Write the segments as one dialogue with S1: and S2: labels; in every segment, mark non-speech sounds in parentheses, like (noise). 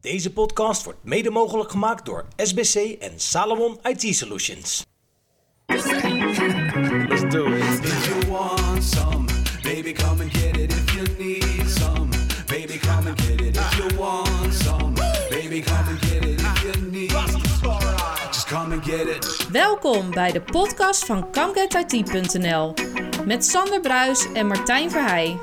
S1: Deze podcast wordt mede mogelijk gemaakt door SBC en Salomon IT Solutions.
S2: Let's do it.
S3: If you want some, baby, come and get it. If you need some, baby, come and get it. If you want some, baby, come and get it. If you need some, just come and get it.
S4: Welkom bij de podcast van ComeGetIT.nl met Sander Bruis en Martijn Verheij.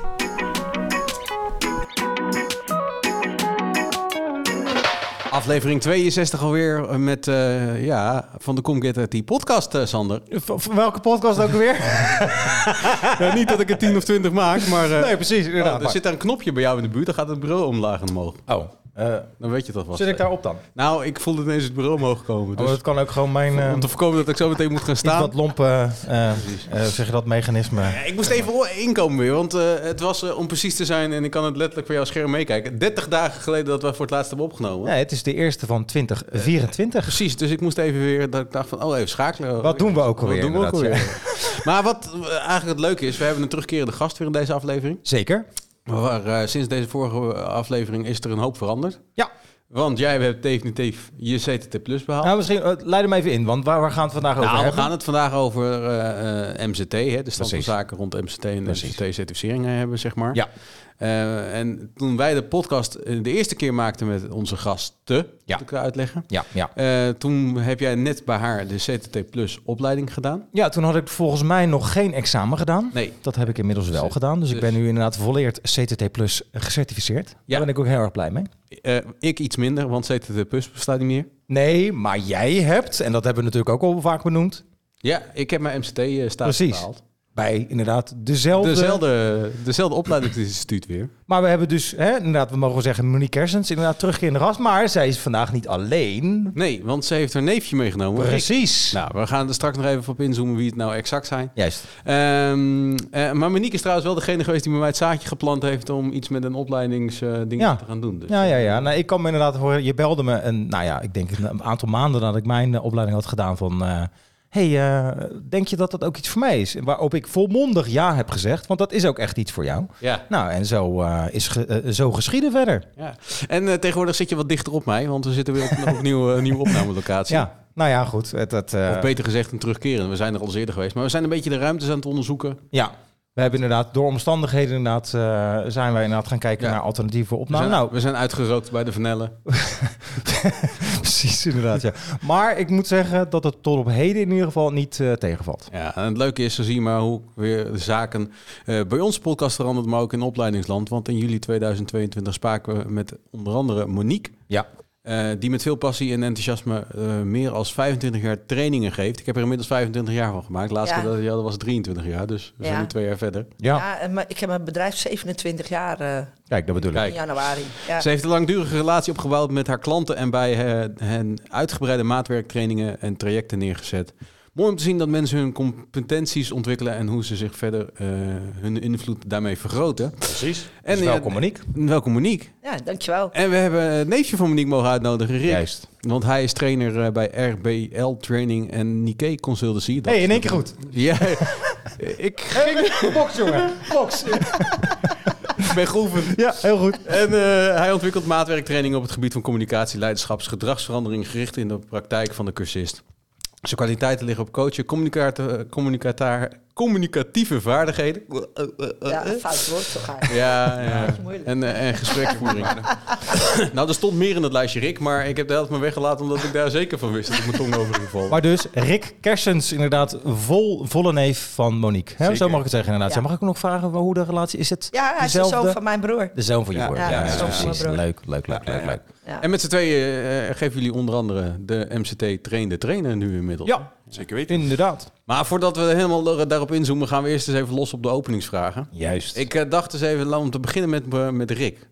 S5: Aflevering 62 alweer eh, met, eh, ja, van de Comget IT podcast, eh, Sander.
S6: Van, van welke podcast ook weer?
S5: Ja, niet dat ik er 10 of 20 maak, maar... eh,
S6: (laughs) Nee, precies.
S5: oh,
S6: Inderdaad.
S5: er zit daar een knopje bij jou in de buurt, dan gaat het bureau omlaag en omhoog.
S6: oh, eh,
S5: Dan weet je dat vast.
S6: zit ik daarop dan?
S5: Nou, ik voelde ineens het bureau omhoog komen.
S6: Oh,
S5: Dus
S6: dat kan ook gewoon mijn eh
S5: om te voorkomen dat ik zo meteen moet gaan
S6: iets
S5: staan.
S6: wat lompe, eh, eh, zeg je dat, mechanisme.
S5: Ik moest even inkomen weer, want eh, het was eh, om precies te zijn... en ik kan het letterlijk voor jouw scherm meekijken. 30 dagen geleden dat we voor het laatst hebben opgenomen.
S6: Nee, het is de eerste van 2024.
S5: Precies, dus ik moest even weer, dat ik dacht van, oh even schakelen.
S6: Wat doen we ook alweer?
S5: Wat doen we ook
S6: inderdaad,
S5: alweer? (laughs) maar wat eh, eigenlijk het leuke is, we hebben een terugkerende gast weer in deze aflevering.
S6: ja. Zeker.
S5: Maar eh, sinds deze vorige aflevering is er een hoop veranderd.
S6: Ja.
S5: Want jij hebt definitief je CTT Plus behaald.
S6: Nou, misschien eh, leid hem even in, want waar, waar gaan we het vandaag over
S5: Nou, we
S6: hebben?
S5: gaan het vandaag over eh, eh, MCT, hè, de stand van
S6: Precies.
S5: zaken rond MCT en
S6: Precies.
S5: MCT-certificeringen hebben, zeg maar.
S6: Ja.
S5: Eh, en toen wij de podcast eh, de eerste keer maakten met onze gasten,
S6: Ja.
S5: moet ik uitleggen.
S6: Ja, ja.
S5: Eh, toen heb jij net bij haar de CTT Plus opleiding gedaan.
S6: Ja, toen had ik volgens mij nog geen examen gedaan.
S5: Nee.
S6: Dat heb ik inmiddels wel
S5: Dus-
S6: gedaan. Dus, ik
S5: dus-
S6: ben nu inderdaad volleerd CTT Plus gecertificeerd. Daar ben ik ook heel erg blij mee.
S5: Eh, ik iets minder, want CTT Plus bestaat niet meer.
S6: Nee, maar jij hebt, en dat hebben we natuurlijk ook al vaak benoemd,
S5: Nou, Ja, ik heb mijn MCT-status
S6: Precies.
S5: eh,
S6: eh,
S5: behaald.
S6: bij inderdaad dezelfde...
S5: Dezelfde, dezelfde opleidingsinstituut weer.
S6: Maar we hebben dus, hè, inderdaad, we mogen wel zeggen, Monique Kersens inderdaad terug in de gast. Maar zij is vandaag niet alleen.
S5: Nee, want ze heeft haar neefje meegenomen.
S6: Precies.
S5: Nou, we gaan er straks nog even op inzoomen wie het nou exact zijn.
S6: Juist.
S5: Ehm, eh, maar Monique is trouwens wel degene geweest die bij mij het zaadje geplant heeft om iets met een opleidingsding
S6: Ja.
S5: te gaan doen. Dus.
S6: Ja, ja, ja. Nou, ik kan me inderdaad horen, je belde me en, nou ja, ik denk een aantal maanden nadat ik mijn eh, opleiding had gedaan van... eh, hey, eh, denk je dat dat ook iets voor mij is? En Waarop ik volmondig ja heb gezegd, want dat is ook echt iets voor jou.
S5: Ja.
S6: Nou, en zo, eh, is ge- eh, zo geschieden verder.
S5: ja. En eh, tegenwoordig zit je wat dichter op mij, want we zitten weer op, (laughs) op een nieuwe, eh, nieuwe opnamelocatie.
S6: Ja, nou ja, goed. Het, het, eh,
S5: Of beter gezegd, een terugkeren. We zijn er al eens eerder geweest, maar we zijn een beetje de ruimtes aan het onderzoeken.
S6: Ja, we hebben inderdaad door omstandigheden inderdaad, eh, zijn wij inderdaad gaan kijken
S5: Ja.
S6: naar alternatieve
S5: We, zijn,
S6: opnames. Nou,
S5: we zijn uitgerookt bij de
S6: (laughs)
S5: vanellen.
S6: precies inderdaad. Ja. Maar ik moet zeggen dat het tot op heden in ieder geval niet eh, tegenvalt.
S5: Ja, en het leuke is, zo zie je maar hoe weer de zaken eh, bij ons podcast veranderd, maar ook in opleidingsland. Want in juli 2022 spraken we met onder andere Monique,
S6: Ja.
S5: eh, die met veel passie en enthousiasme eh, meer als 25 jaar trainingen geeft. Ik heb er inmiddels 25 jaar van gemaakt. Laatst
S7: Ja.
S5: keer dat ik die hadden was 23 jaar, dus we zijn
S7: Ja.
S5: nu twee jaar verder.
S6: Ja,
S7: Ja, en maar ik heb mijn bedrijf 27 jaar eh,
S6: kijk, dat bedoel ik.
S5: Kijk.
S7: in januari. Ja.
S5: Ze heeft een langdurige relatie opgebouwd met haar klanten en bij eh, hen uitgebreide maatwerktrainingen en trajecten neergezet. Mooi om te zien dat mensen hun competenties ontwikkelen en hoe ze zich verder eh, hun invloed daarmee vergroten. Precies. En
S6: Dus
S5: ja,
S6: welkom, Monique.
S5: welkom Monique.
S7: ja, dankjewel.
S5: En we hebben het neefje van Monique mogen uitnodigen, Rick.
S6: Juist.
S5: Want hij is trainer eh, bij RBL Training en Nikkei Consultancy. Dat
S6: hey, in
S5: is-
S6: één keer goed.
S5: Ja, (laughs) ik ging,
S6: Box, jongen. Box.
S5: ben geoefend.
S6: (laughs) Ja, heel goed.
S5: En eh, hij ontwikkelt maatwerktraining op het gebied van communicatie, leiderschaps, gedragsverandering gericht in de praktijk van de cursist. Zijn kwaliteiten liggen op coachen, communicata- communicataar- communicatieve vaardigheden. eh,
S7: Ja, een fout woord zo ga je.
S5: Ja,
S7: (laughs)
S5: ja.
S7: is moeilijk.
S5: En, eh, en
S7: (laughs)
S5: gespreksvoering. nou, er stond meer in het lijstje, Rick, maar ik heb de helft maar weggelaten omdat ik daar zeker van wist dat ik mijn tong over ging vallen.
S6: Maar dus, Rick Kersens, inderdaad, vol, volle neef van Monique. Hè? Zo
S5: Zeker.
S6: mag ik het zeggen, inderdaad.
S7: Ja.
S6: Mag ik ook nog vragen hoe de relatie is? Het
S7: Ja, hij is de
S6: dezelfde?
S7: zoon van mijn broer.
S6: De zoon van je
S5: Ja,
S6: broer.
S7: ja, de zoon van mijn
S6: precies.
S7: broer.
S6: Leuk, leuk, leuk, leuk, leuk.
S7: Ja.
S5: En met z'n tweeën eh, geven jullie onder andere de MCT Train de Trainer nu inmiddels.
S6: Ja,
S8: Zeker weten.
S6: inderdaad.
S5: Maar voordat we helemaal daarop inzoomen, gaan we eerst eens even los op de openingsvragen.
S6: Juist.
S5: Ik eh, dacht eens even la- om te beginnen met, eh, met Rick.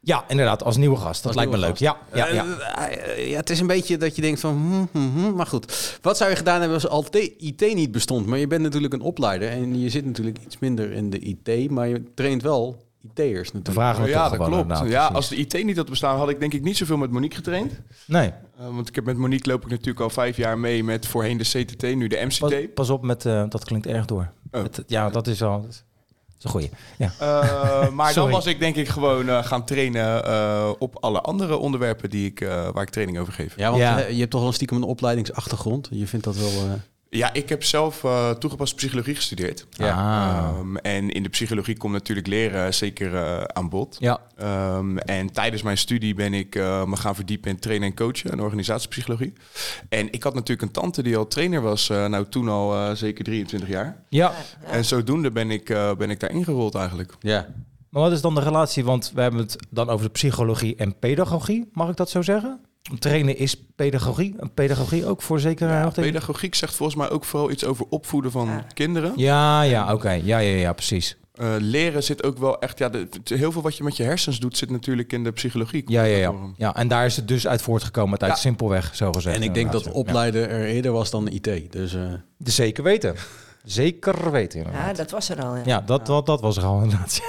S6: Ja, inderdaad, als nieuwe gast.
S5: Als
S6: Dat lijkt me
S5: nieuwe
S6: leuk. Ja, ja,
S5: Eh,
S6: ja.
S5: eh, eh, ja, het is een beetje dat je denkt van, hmm, hmm, hmm, maar goed. Wat zou je gedaan hebben als al te- IT niet bestond? Maar je bent natuurlijk een opleider en je zit natuurlijk iets minder in de IT, maar je traint wel IT'ers
S6: De
S5: natuurlijk.
S6: vragen we
S8: Oh ja,
S6: toch
S8: dat
S6: gewoon
S8: klopt.
S6: inderdaad,
S8: ja,
S6: precies.
S8: als de IT niet had bestaan, had ik denk ik niet zoveel met Monique getraind.
S6: Nee,
S8: Eh, want ik heb met Monique loop ik natuurlijk al vijf jaar mee met voorheen de CTT, nu de MCT.
S6: pas, pas op met... eh, dat klinkt erg door.
S8: Oh.
S6: Het- ja, dat is al... is een goeie. Ja.
S8: Eh, maar dan
S6: Sorry.
S8: was ik denk ik gewoon eh, gaan trainen eh, op alle andere onderwerpen die ik, eh, waar ik training over geef.
S5: Ja, want
S6: Ja.
S5: eh, je hebt toch wel stiekem een opleidingsachtergrond. Je vindt dat wel... eh,
S8: Ja, ik heb zelf eh, toegepaste psychologie gestudeerd.
S6: Ah.
S8: Ehm, en in de psychologie komt natuurlijk leren zeker eh, aan bod.
S6: ja.
S8: Ehm, en tijdens mijn studie ben ik eh, me gaan verdiepen in trainen en coachen en organisatiepsychologie. En ik had natuurlijk een tante die al trainer was, eh, nou toen al eh, zeker 23 jaar.
S6: Ja.
S8: En zodoende ben ik, eh, ben ik daar ingerold eigenlijk.
S5: Ja.
S6: Maar wat is dan de relatie? Want we hebben het dan over de psychologie en pedagogie. Mag ik dat zo zeggen? Trainen is pedagogie. En Pedagogie ook voor zekere hoogte?
S8: Pedagogiek zegt volgens mij ook vooral iets over opvoeden van kinderen.
S6: Ja, ja, oké. Ja, ja, ja, precies.
S8: Eh, leren zit ook wel echt, ja, de- t- heel veel wat je met je hersens doet zit natuurlijk in de psychologie.
S6: Ja, ja, ja.
S8: Daarvoor.
S6: ja. En daar is het dus uit voortgekomen, uit simpelweg, zo gezegd.
S5: En ik denk dat
S6: op
S5: opleiden er eerder was dan IT. Dus eh,
S6: Zeker weten. Zeker weten, inderdaad.
S7: Ja, dat was er al. Ja.
S6: Ja, dat, dat, dat was er al inderdaad.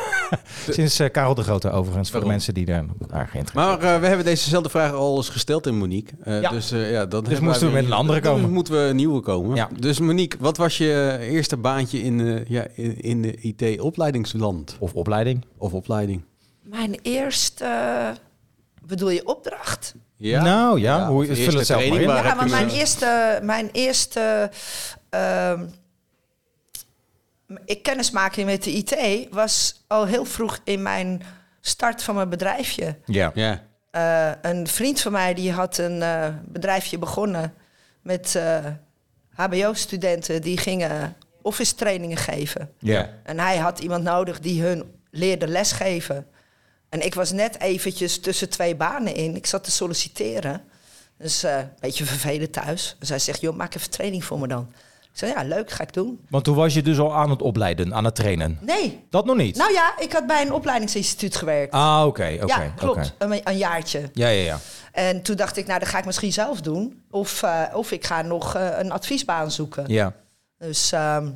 S6: Sinds eh, Karel de Grote overigens, voor de
S5: Waarom?
S6: mensen die daar, daar geïnteresseerd
S5: Maar eh, we hebben dezezelfde vraag al eens gesteld in Monique. Eh,
S6: Ja.
S5: Dus, eh, ja, dat
S6: moesten we met een andere komen.
S5: Dus moeten we een nieuwe komen.
S6: Ja.
S5: Dus Monique, wat was je eerste baantje in, eh, ja, in, in de IT-opleidingsland
S6: Of opleiding.
S5: of opleiding?
S7: Mijn eerste, eh, bedoel je opdracht?
S6: Nou ja,
S5: Ja,
S6: hoe,
S5: of de
S6: vul het
S5: eerste
S6: zelf maar in.
S5: training, Waar
S7: ja,
S5: heb
S7: maar
S5: je
S7: mijn
S5: me-
S7: eerste, mijn eerste ehm, ik kennismaking met de IT was al heel vroeg in mijn start van mijn bedrijfje.
S6: Ja.
S5: Ja.
S7: Eh, een vriend van mij die had een eh, bedrijfje begonnen met eh, HBO-studenten die gingen office trainingen geven.
S6: Ja.
S7: En hij had iemand nodig die hun leerde lesgeven. En ik was net eventjes tussen twee banen in. Ik zat te solliciteren. Dus eh, een beetje vervelend thuis. Dus hij zegt, joh, maak even training voor me dan. Ik zei, ja, leuk, ga ik doen.
S6: Want toen was je dus al aan het opleiden, aan het trainen.
S7: Nee.
S6: Dat nog niet?
S7: Nou ja, ik had bij een opleidingsinstituut gewerkt.
S6: ah, oké, oké.
S7: ja,
S6: oké.
S7: klopt. Een, een jaartje.
S6: Ja, ja, ja.
S7: En toen dacht ik, nou, dat ga ik misschien zelf doen. Of, eh, of ik ga nog eh, een adviesbaan zoeken.
S6: Ja.
S7: Dus ehm,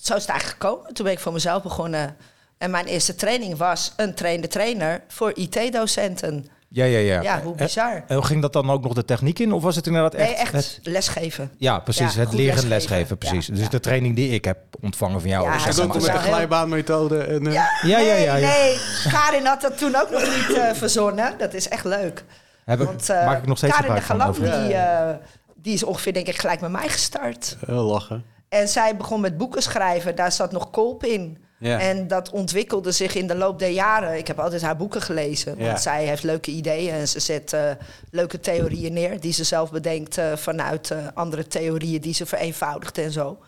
S7: zo is het eigenlijk gekomen. Toen ben ik voor mezelf begonnen. En mijn eerste training was een trainde trainer voor IT-docenten.
S6: Ja, ja, ja. eh,
S7: Ja, hoe bizar.
S6: En ging dat dan ook nog de techniek in? Of was het inderdaad echt...
S7: nee, echt
S6: het-
S7: lesgeven.
S6: ja, precies.
S7: Ja,
S6: het
S7: goed
S6: leren en
S7: lesgeven.
S6: lesgeven, precies.
S7: Ja,
S6: dus
S7: ja.
S6: de training die ik heb ontvangen van jou. dus
S7: Ja,
S6: zeg
S7: hij
S6: maar. eh,
S7: stond
S6: Ja,
S7: met de
S5: glijbaanmethode. En, eh,
S6: ja, ja,
S7: nee,
S6: ja.
S7: nee, Karin had dat toen ook nog niet eh, verzonnen. Dat is echt leuk.
S6: Heb ik-
S7: Want eh,
S6: maak ik nog steeds
S7: Karin de
S6: gebruik van
S7: Galant, die,
S6: overigens.
S7: eh, die is ongeveer denk ik gelijk met mij gestart.
S5: eh, lachen.
S7: En zij begon met boeken schrijven. Daar zat nog kolp in.
S5: Ja.
S7: En dat ontwikkelde zich in de loop der jaren. Ik heb altijd haar boeken gelezen. Want
S5: Ja.
S7: zij heeft leuke ideeën en ze zet eh, leuke theorieën neer. Die ze zelf bedenkt eh, vanuit eh, andere theorieën die ze vereenvoudigt en zo.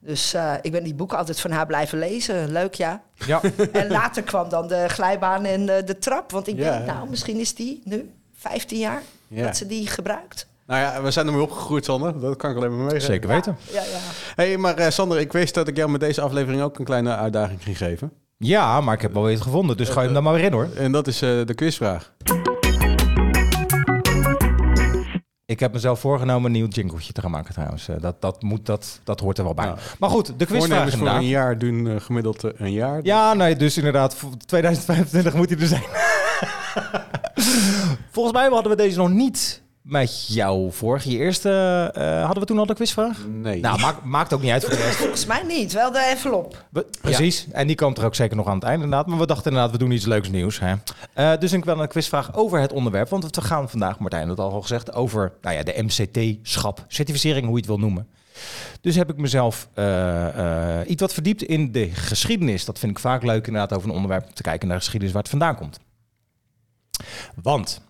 S7: Dus eh, ik ben die boeken altijd van haar blijven lezen. Leuk, ja.
S5: (laughs)
S6: Ja. (laughs)
S7: en later kwam dan de glijbaan en eh, de trap. Want ik
S5: Ja.
S7: denk, nou, misschien is die nu 15 jaar
S5: Ja.
S7: dat ze die gebruikt.
S5: Nou ja, we zijn ermee opgegroeid, Sander. Dat kan ik alleen maar meegeven.
S6: Zeker weten.
S7: Ja, ja.
S5: hey, maar eh, Sander, ik wist dat ik jou met deze aflevering ook een kleine uitdaging ging geven.
S6: Ja, maar ik heb wel weer het gevonden. Dus gooi hem dan maar weer in, hoor.
S5: En dat is eh, de quizvraag.
S6: Ik heb mezelf voorgenomen een nieuw jingletje te gaan maken trouwens. Eh, Dat, dat, moet, dat, dat hoort er wel bij.
S5: Nou,
S6: maar goed, de quizvraag
S5: Voornemens voor
S6: inderdaad.
S5: een jaar doen eh, gemiddeld eh, een jaar.
S6: Ja, nee, dus inderdaad, voor 2025 moet hij er zijn. (laughs) Volgens mij hadden we deze nog niet met jou vorige. Je eerste, eh, hadden we toen al de quizvraag?
S5: Nee.
S6: Nou, maakt, maakt ook niet uit voor de rest.
S7: Volgens mij niet. Wel de envelop.
S6: We- Precies, en die komt er ook zeker nog aan het einde inderdaad. Maar we dachten inderdaad, we doen iets leuks nieuws. Hè? Eh, dus ik wil een quizvraag over het onderwerp. Want we gaan vandaag, Martijn had het al gezegd, over nou ja, de MCT-schap. Certificering, hoe je het wil noemen. Dus heb ik mezelf eh, eh, iets wat verdiept in de geschiedenis. Dat vind ik vaak leuk inderdaad over een onderwerp te kijken naar de geschiedenis waar het vandaan komt. Want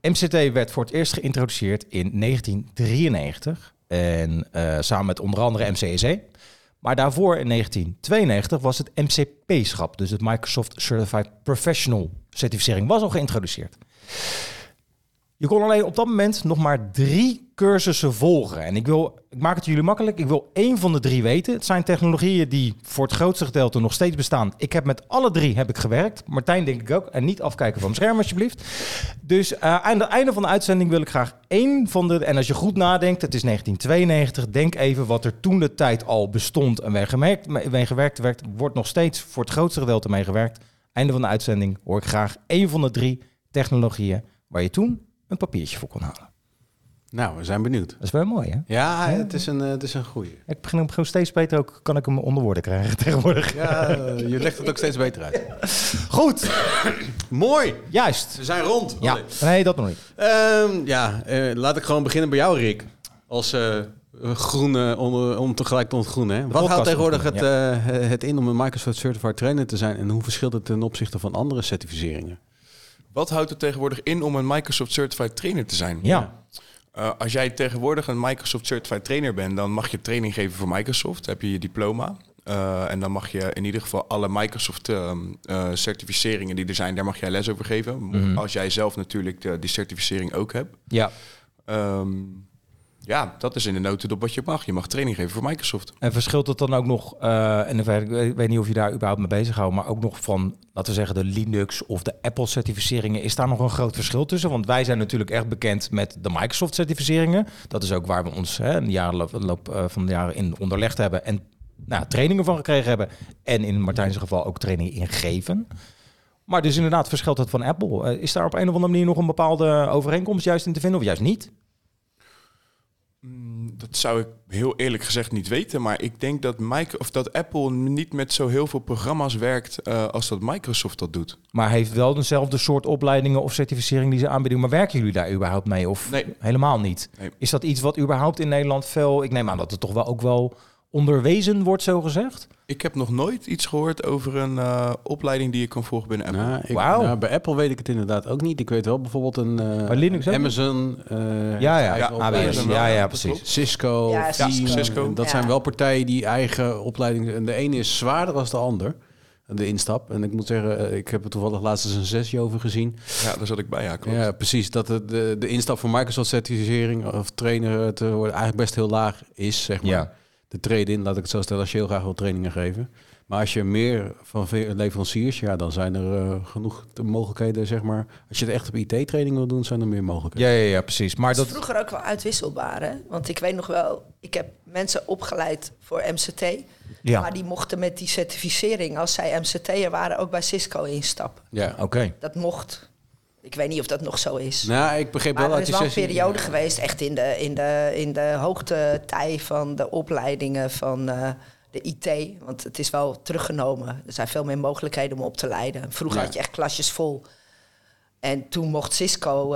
S6: MCT werd voor het eerst geïntroduceerd in 1993. En eh, samen met onder andere MCSE. Maar daarvoor in 1992 was het MCP-schap, dus het Microsoft Certified Professional certificering, was al geïntroduceerd. Je kon alleen op dat moment nog maar drie cursussen volgen. En ik, wil, ik maak het jullie makkelijk. Ik wil één van de drie weten. Het zijn technologieën die voor het grootste gedeelte nog steeds bestaan. Ik heb met alle drie heb ik gewerkt. Martijn denk ik ook. En niet afkijken van mijn scherm alsjeblieft. Dus eh, aan het einde van de uitzending wil ik graag één van de... En als je goed nadenkt, het is 1992. Denk even wat er toen de tijd al bestond en mee gemerkt, mee gewerkt werd. Wordt nog steeds voor het grootste gedeelte mee gewerkt. Einde van de uitzending hoor ik graag één van de drie technologieën... waar je toen een papiertje voor kon halen.
S5: Nou, we zijn benieuwd.
S6: Dat is wel mooi, hè?
S5: Ja, het is een, eh, het is een goeie.
S6: Ik begin hem gewoon steeds beter ook. Kan ik hem onder woorden krijgen (laughs) tegenwoordig?
S5: Ja, eh, je legt het ook steeds beter uit.
S6: Goed,
S5: (laughs) Mooi!
S6: juist.
S5: We zijn rond.
S6: Ja,
S5: Allee.
S6: nee, dat nog niet.
S5: Ehm, ja, eh, laat ik gewoon beginnen bij jou, Rick. Als eh, groene, om, om tegelijk te ontgroenen. Hè? Wat houdt
S6: podcast
S5: tegenwoordig het,
S6: ontgroenen,
S5: eh, het in om een Microsoft Certified Trainer te zijn? En hoe verschilt het ten opzichte van andere certificeringen?
S8: Wat houdt het tegenwoordig in om een Microsoft Certified Trainer te zijn?
S6: Ja,
S8: Eh, als jij tegenwoordig een Microsoft Certified Trainer bent, dan mag je training geven voor Microsoft. Dan heb je je diploma. Eh, en dan mag je in ieder geval alle Microsoft ehm, eh, certificeringen die er zijn, daar mag jij les over geven. Als jij zelf natuurlijk de- die certificering ook hebt.
S6: ja.
S8: Ehm, ja, dat is in de notendop wat je mag. Je mag training geven voor Microsoft.
S6: En verschilt het dan ook nog, eh, en in ver- ik weet niet of je daar überhaupt mee bezighoudt, maar ook nog van, laten we zeggen, de Linux of de Apple-certificeringen, is daar nog een groot verschil tussen? Want wij zijn natuurlijk echt bekend met de Microsoft-certificeringen. Dat is ook waar we ons hè, in de jarenloop loop, eh, van de jaren in onderlegd hebben en nou, trainingen van gekregen hebben. En in Martijn's geval ook trainingen in geven. Maar dus inderdaad, verschilt het van Apple. Eh, is daar op een of andere manier nog een bepaalde overeenkomst juist in te vinden of juist niet?
S8: Dat zou ik heel eerlijk gezegd niet weten. Maar ik denk dat, Mike, of dat Apple niet met zo heel veel programma's werkt eh, als dat Microsoft dat doet.
S6: Maar heeft wel dezelfde soort opleidingen of certificering die ze aanbieden. Maar werken jullie daar überhaupt mee of
S8: Nee.
S6: helemaal niet?
S8: Nee.
S6: Is dat iets wat überhaupt in Nederland veel... Ik neem aan dat het toch wel ook wel onderwezen wordt, zo gezegd?
S8: Ik heb nog nooit iets gehoord over een eh, opleiding die je kan volgen binnen Apple.
S5: Nou, ik-
S6: Wauw.
S5: nou, bij Apple weet ik het inderdaad ook niet. Ik weet wel bijvoorbeeld een eh,
S6: Bij Oh, Linux ook?
S5: Amazon, eh,
S6: Ja,
S5: heeft
S6: ja,
S5: eigen
S6: AWS.
S5: opleidingen.
S8: wel,
S6: ja,
S8: ja,
S6: ja,
S8: dat
S6: precies.
S8: klopt.
S5: Cisco,
S7: Ja,
S5: Veeam,
S7: Cisco.
S8: Cisco.
S5: Dat
S7: Ja.
S5: zijn wel partijen die eigen opleidingen... En de ene is zwaarder dan de ander, de instap. En ik moet zeggen, eh, ik heb er toevallig laatst eens een zesje over gezien.
S8: Ja, daar zat ik bij, ja, klopt.
S5: Ja, precies. Dat de, de, de instap voor Microsoft-certificering of trainer eh, te worden eigenlijk best heel laag is, zeg maar.
S6: Ja.
S5: De trade-in, laat ik het zo stellen, als je heel graag wil trainingen geven. Maar als je meer van ve- leveranciers, ja, dan zijn er eh, genoeg te- mogelijkheden, zeg maar. Als je het echt op IT-training wil doen, zijn er meer mogelijkheden.
S6: Ja, ja, ja, precies. Maar
S7: Dat is
S6: dat...
S7: vroeger ook wel uitwisselbaar, hè? Want ik weet nog wel, ik heb mensen opgeleid voor MCT.
S6: Ja,
S7: Maar die mochten met die certificering, als zij MCT'er waren, ook bij Cisco instappen.
S5: Ja.
S6: oké.
S7: Dat mocht. Ik weet niet of dat nog zo is.
S5: Nou, ik begreep
S7: maar
S5: wel
S7: er
S5: dat
S7: is
S5: je
S7: wel een
S5: sessie-
S7: periode geweest, echt in de, in de, in de hoogtij van de opleidingen van eh, de IT. Want het is wel teruggenomen. Er zijn veel meer mogelijkheden om op te leiden. Vroeger
S5: Ja.
S7: had je echt klasjes vol. En toen mocht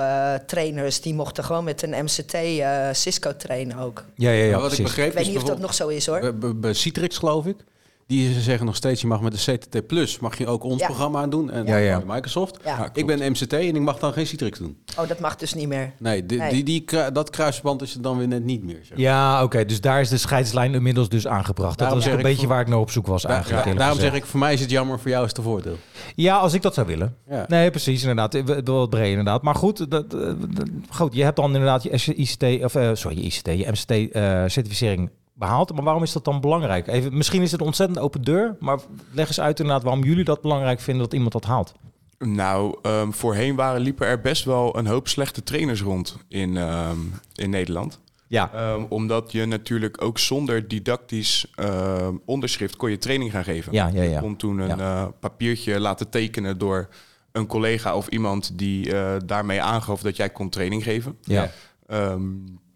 S7: Cisco-trainers, die mochten gewoon met een MCT eh, Cisco trainen ook.
S6: Ja, ja, ja,
S5: Maar wat ik
S6: precies.
S5: begreep
S7: Ik weet
S5: is
S7: niet of dat
S5: Dus bijvoorbeeld-
S7: nog zo is hoor.
S5: Bij- bij- Bij Citrix geloof ik. Die ze zeggen nog steeds, je mag met de CTT Plus, mag je ook ons
S7: Ja.
S5: programma doen en
S6: Ja, ja.
S5: Microsoft.
S7: Ja. Ja,
S5: ik ben MCT en ik mag dan geen Citrix doen.
S7: Oh, dat mag dus niet meer.
S5: Nee, die,
S7: Nee.
S5: Die, die, kru- dat kruisverband is er dan weer net niet meer. Zeg.
S6: Ja, oké. Dus daar is de scheidslijn inmiddels dus
S5: Daarom
S6: aangebracht. dat was
S5: zeg
S6: een
S5: ik
S6: beetje
S5: voor-
S6: waar ik naar op zoek was
S5: Daar-
S6: eigenlijk.
S5: ja,
S6: eerlijk
S5: daarom
S6: gezegd.
S5: zeg ik, voor mij is het jammer, voor jou is het een voordeel.
S6: Ja, als ik dat zou willen.
S5: Ja.
S6: Nee, precies, inderdaad. Eh, wel Wat breed, inderdaad. Maar goed, dat, eh, dat- goed, je hebt dan inderdaad je SC ICT, of eh, sorry, je ICT, je MCT-certificering eh, behaald. Maar waarom is dat dan belangrijk? Even, misschien is het een ontzettend open deur, maar leg eens uit inderdaad waarom jullie dat belangrijk vinden dat iemand dat haalt.
S8: Nou, ehm, voorheen waren, liepen er best wel een hoop slechte trainers rond in, ehm, in Nederland.
S6: Ja,
S8: Ehm, omdat je natuurlijk ook zonder didactisch ehm, onderschrift kon je training gaan geven.
S6: ja, ja, ja.
S8: kon toen een eh, papiertje laten tekenen door een collega of iemand die eh, daarmee aangaf dat jij kon training geven.
S6: Ja,
S8: Ehm,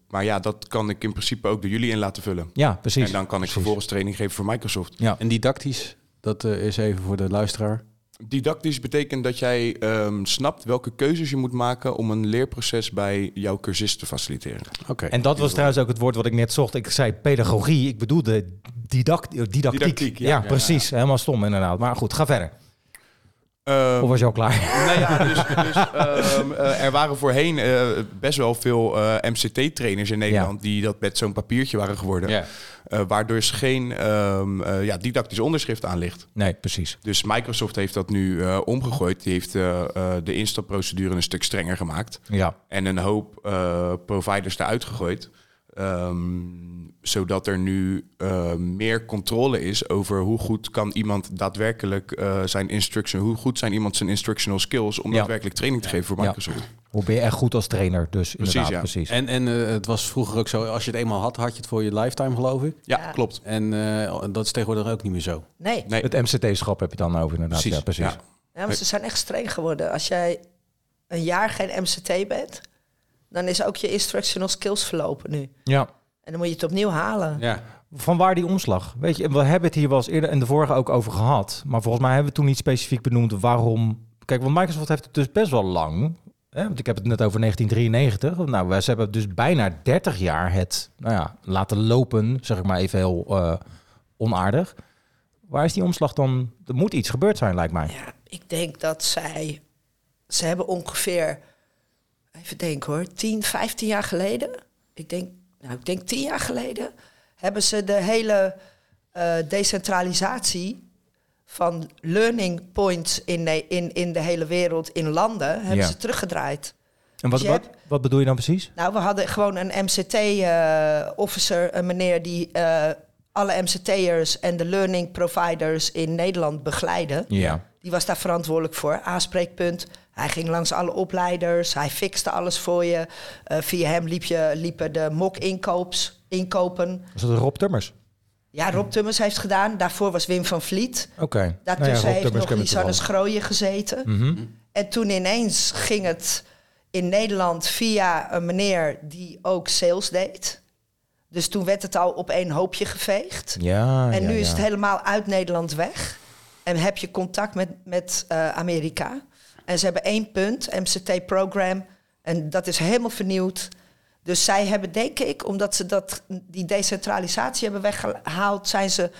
S8: maar ja, dat kan ik in principe ook door jullie in laten vullen.
S6: ja precies.
S8: En dan kan ik vervolgens training geven voor Microsoft.
S5: En didactisch, dat eh, is even voor de luisteraar.
S8: Didactisch betekent dat jij ehm, snapt welke keuzes je moet maken om een leerproces bij jouw cursist te faciliteren.
S5: Oké.
S6: En dat was trouwens ook het woord wat ik net zocht. Ik zei pedagogie, ik bedoelde didact, eh, didactiek.
S8: Didactiek,
S6: ja,
S8: ja.
S6: precies. Helemaal stom inderdaad. Maar goed, ga verder.
S8: Ehm,
S6: Of was je al
S8: (laughs)
S6: klaar?
S8: Nou ja, dus, dus, ehm, eh, er waren voorheen eh, best wel veel eh, MCT-trainers in Nederland die dat met zo'n papiertje waren geworden. Eh, waardoor ze geen ehm, eh, ja, didactisch onderschrift aan ligt.
S6: Nee, precies.
S8: Dus Microsoft heeft dat nu eh, omgegooid. Die heeft eh, eh, de instapprocedure een stuk strenger gemaakt.
S6: Ja,
S8: En een hoop eh, providers eruit gegooid. Ehm, zodat er nu eh, meer controle is over hoe goed kan iemand daadwerkelijk eh, zijn instruction, hoe goed zijn iemand zijn instructional skills om
S6: Ja.
S8: daadwerkelijk training te geven voor
S6: Ja.
S8: Microsoft.
S6: hoe ben je echt goed als trainer dus
S8: Precies,
S6: inderdaad.
S8: ja.
S6: Precies.
S5: En, en eh, het was vroeger ook zo, als je het eenmaal had, had je het voor je lifetime geloof ik.
S8: Ja, klopt.
S5: En eh, dat is tegenwoordig ook niet meer zo.
S7: Nee.
S8: Nee.
S6: Het MCT-schap heb je dan over inderdaad.
S5: Precies,
S6: Ja, precies.
S8: Ja.
S7: Ja, maar ze zijn echt streng geworden. Als jij een jaar geen MCT bent, dan is ook je instructional skills verlopen nu.
S6: Ja.
S7: En dan moet je het opnieuw halen.
S5: Ja.
S6: Van waar die omslag? Weet je, en we hebben het hier wel eens eerder in de vorige ook over gehad. Maar volgens mij hebben we toen niet specifiek benoemd waarom. Kijk, want Microsoft heeft het dus best wel lang. Hè? Want ik heb het net over 1993. Nou, wij- ze hebben dus bijna 30 jaar het nou ja, laten lopen, zeg ik maar even heel eh, onaardig. Waar is die omslag dan? Er moet iets gebeurd zijn, lijkt mij.
S7: Ja, ik denk dat zij... Ze hebben ongeveer, even denken hoor, 10, 15 jaar geleden... Ik denk, nou, ik denk 10 jaar geleden... hebben ze de hele eh, decentralisatie van learning points in, ne- in, in de hele wereld, in landen... hebben
S6: Ja.
S7: ze teruggedraaid.
S6: En wat,
S7: Dus je
S6: wat, wat bedoel je dan precies?
S7: Nou, we hadden gewoon een MCT-officer, eh, een meneer die eh, alle MCT'ers en de learning providers in Nederland begeleidde.
S6: Ja.
S7: Die was daar verantwoordelijk voor. Aanspreekpunt. Hij ging langs alle opleiders. Hij fixte alles voor je. Eh, via hem liep je, liepen de mock-inkoops, inkopen.
S6: Is dat Rob Tummers?
S7: Ja,
S6: Mhm.
S7: Rob Tummers heeft gedaan. Daarvoor was Wim van Vliet.
S6: Oké. Nou ja,
S7: Daartussen
S6: Rob
S7: heeft
S6: Tummers
S7: nog
S6: kennen we
S7: Lisanne
S6: toevallig.
S7: Schrooien gezeten.
S6: Mhm.
S7: En toen ineens ging het in Nederland via een meneer die ook sales deed. Dus toen werd het al op één hoopje geveegd.
S6: Ja.
S7: en
S6: Ah, ja,
S7: nu is
S6: ja.
S7: het helemaal uit Nederland weg. En heb je contact met, met eh, Amerika. En ze hebben één punt, MCT-program. En dat is helemaal vernieuwd. Dus zij hebben, denk ik, omdat ze dat, die decentralisatie hebben weggehaald, zijn ze